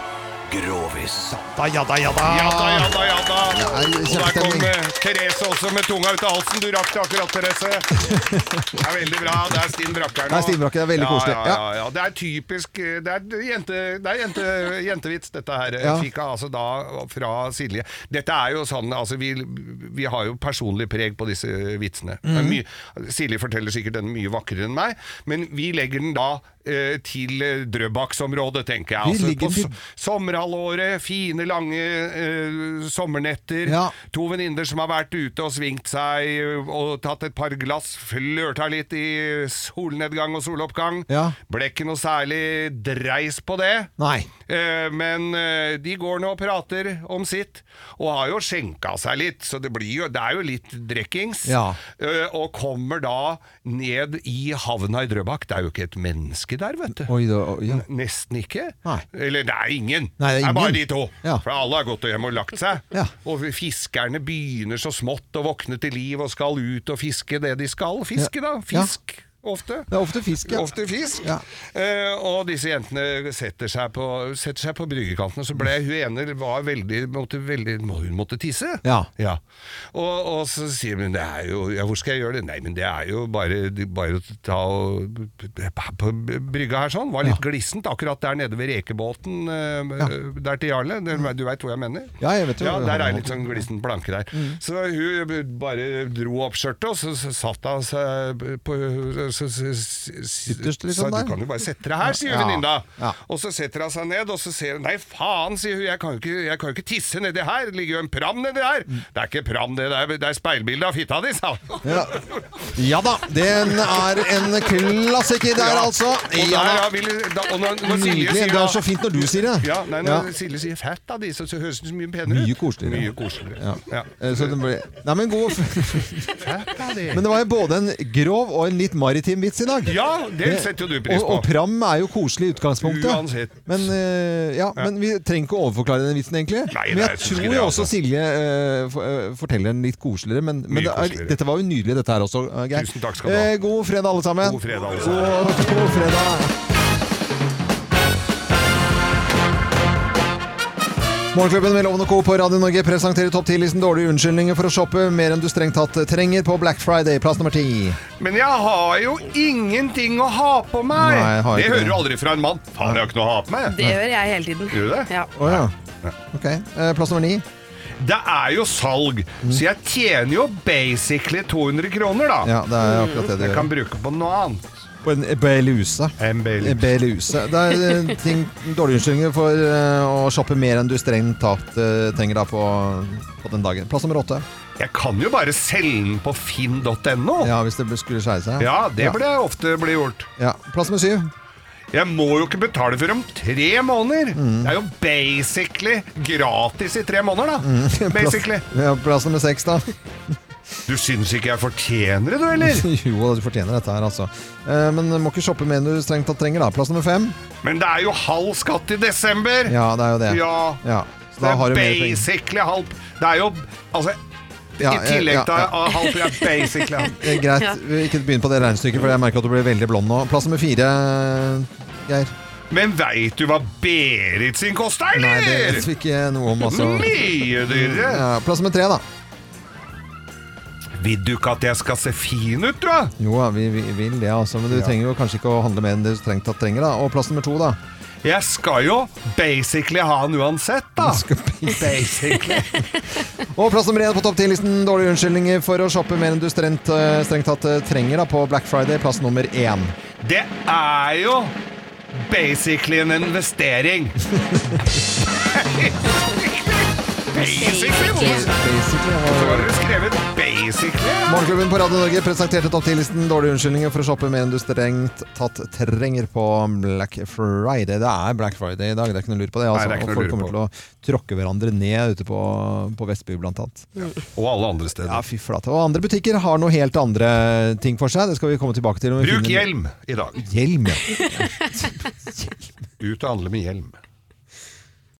Grovis. Da, ja da, ja da. Ja da, ja da, ja da. Det er Og der kom kjempestemning. eh, Therese også med tunga ut av halsen. Du rakk det akkurat, Therese. Det er veldig bra. Det er Stinn Brakke her nå. Det er Stinn Brakke, det er veldig ja, koselig. Ja, Ja. ja, ja. Det er typisk eh, Det er, jente, det er jente, jentevits, dette her. Ja. Fikk jeg altså da fra Silje. Dette er jo sånn Altså, vi, vi har jo personlig preg på disse vitsene. Det Mhm. er mye, Silje forteller sikkert den mye vakrere enn meg, men vi legger den da eh, til eh, Drøbaksområdet, tenker jeg. Vi Altså, ligger på til- so- Sommerhalvåret, fine lange eh, sommernetter. To venninner som har vært ute og svingt seg eh, og tatt et par glass, flørta litt i solnedgang og soloppgang. Ja. Ble ikke noe særlig dreis på det. Nei. Eh, men eh, de går nå og prater om sitt, og har jo skjenka seg litt, så det, blir jo, det er jo litt drikkings. Ja. Eh, og kommer da ned i havna i Drøbak. Det er jo ikke et menneske der, vet du. Oi, da, oi, ja. Nesten ikke. Nei. Eller det er ingen. Nei, det er ingen. bare de to. Ja. For alle har gått hjem og lagt seg. Ja. Og fiskerne begynner så smått å våkne til liv og skal ut og fiske det de skal fiske, da. Ja. Fisk. Ofte. Det er ofte fisk, ja. Ofte fisk. Ja. Eh, og disse jentene setter seg på, setter seg på bryggekanten, og så ble hun ene var veldig, måtte, veldig, må- Hun måtte tisse. Ja. Og, og så sier hun det er jo, ja, 'Hvor skal jeg gjøre det?' Nei, men det er jo bare, bare å ta og På brygga her sånn. Var litt glissent akkurat der nede ved rekebåten, eh, der til Jarle. Du, du veit hvor jeg mener? Ja, jeg vet jo ja, hvor Der han er er. litt sånn glissent Mm. blanke der. Så hun bare dro opp skjørtet, og så satt hun seg på så, så, så, Ytterst liksom sa, der. Du kan jo bare sette deg her, sier Ja, venninna. ja. Og så setter hun seg ned, og så ser hun Nei, faen, sier hun, jeg kan jo ikke, jeg kan jo ikke tisse nedi her. Det ligger jo en pram nedi her. Det er ikke pram, det der, det er speilbilde av fitta di, sa hun. Mm. Ja. ja da, den er en klassiker der, altså. Og, Ja der, da. ja, vil, da, og når, når Nydelig. Silje sier Det da- er så fint når du sier det. Ja, nei, Ja. når Silje sier fett da, de, så, så høres den så mye penere Mye ut. koseligere. Mye koseligere. Ja. Ja. Eh, Så den ble... Nei, men god Fett da, de. Men det var jo både en grov og en litt maritim vits i dag. Ja, det setter jo du pris på. Og, og pram er jo koselig i utgangspunktet. Uansett. Men, eh, ja, men vi trenger ikke å overforklare den vitsen, egentlig. Nei, men nei, jeg jeg synes ikke tror det, jo altså. også Silje eh, for- eh, forteller den litt koseligere. Men, Mye men det er, koseligere. dette var jo nydelig, dette her også, eh, Geir. Tusen takk skal du ha. Eh, God fredag, alle sammen. God fredag, alle God, god fredag. Morgenklubben med Loven og Co. på Radio Norge presenterer topp 10-listen dårlige unnskyldninger for å shoppe mer enn du strengt tatt trenger på Black Friday, plass nummer ti. Men jeg har jo ingenting å ha på meg! Nei, jeg har det ikke hører det. du aldri fra en mann. Faen, jeg har ikke noe å ha på meg. Det gjør jeg hele tiden. Gjør du det? Ja. Å ja. Ok. Eh, Plass nummer ni. Det er jo salg, så jeg tjener jo basically 200 kroner, da. Ja, det er akkurat det du Jeg gjør. kan bruke på noe annet. På en Beluse. En Beluse. Det er eh, ting, dårlige unnskyldninger for eh, å shoppe mer enn du strengt tatt eh, trenger da på, på den dagen. Plass nummer åtte. Jeg kan jo bare selge den på finn.no. Ja, hvis det skulle skjære seg. Ja, det Ja. burde jeg ofte bli gjort. Ja. Plass nummer syv. Jeg må jo ikke betale for om tre måneder! Mm. Det er jo basically gratis i tre måneder, da. Mm. Basically. Plass, ja, plass nummer seks, da. Du syns ikke jeg fortjener det, du, eller? jo, du fortjener dette her, altså. Eh, Men du må ikke shoppe mer enn du strengt tatt trenger, da. Plass nummer fem. Men det er jo halv skatt i desember! Ja, det er jo det. Ja. Så da har du det mer er penger. basically halv Det er jo Altså, Ja, i tillegg ja, til ja. ja. halv det er basically halv. Eh, Greit, vi ikke begynn på det regnestykket, for jeg merker at du blir veldig blond nå. Plass nummer fire, Geir. Men veit du hva Berit sin koster, Nei, det eller? vet vi ikke noe om, altså. Mye dyrere. Ja, plass nummer tre, da. Vil du ikke at jeg skal se fin ut, da? Jo ja, vi, vi vil det, altså. Men du Ja. trenger jo kanskje ikke å handle mer enn du strengt tatt trenger, da. Og plass nummer to, da. Jeg skal jo basically ha den uansett, da. Basically. Og plass nummer én på topp ti-listen. Dårlige unnskyldninger for å shoppe mer enn du strengt, eh, strengt tatt eh, trenger da, på Black Friday. Plass nummer én. Det er jo basically en investering. basically, eh, Hvorfor har dere skrevet 'basically'? Morgenklubben på Radio Norge presenterte topp 10-listen dårlige unnskyldninger for å shoppe mer enn du strengt tatt trenger på Black Friday. Det er Black Friday i dag, det er ikke noe lur på det. Altså. Nei, det er ikke og noe folk lur kommer på. til å tråkke hverandre ned ute på, på Vestby, blant annet. Mm. Og alle andre steder. Ja, fy flate. Og andre butikker har noe helt andre ting for seg. Det skal vi komme tilbake til. om vi Bruk finner- hjelm i dag. Hjelm, ja. Ut og handle med hjelm.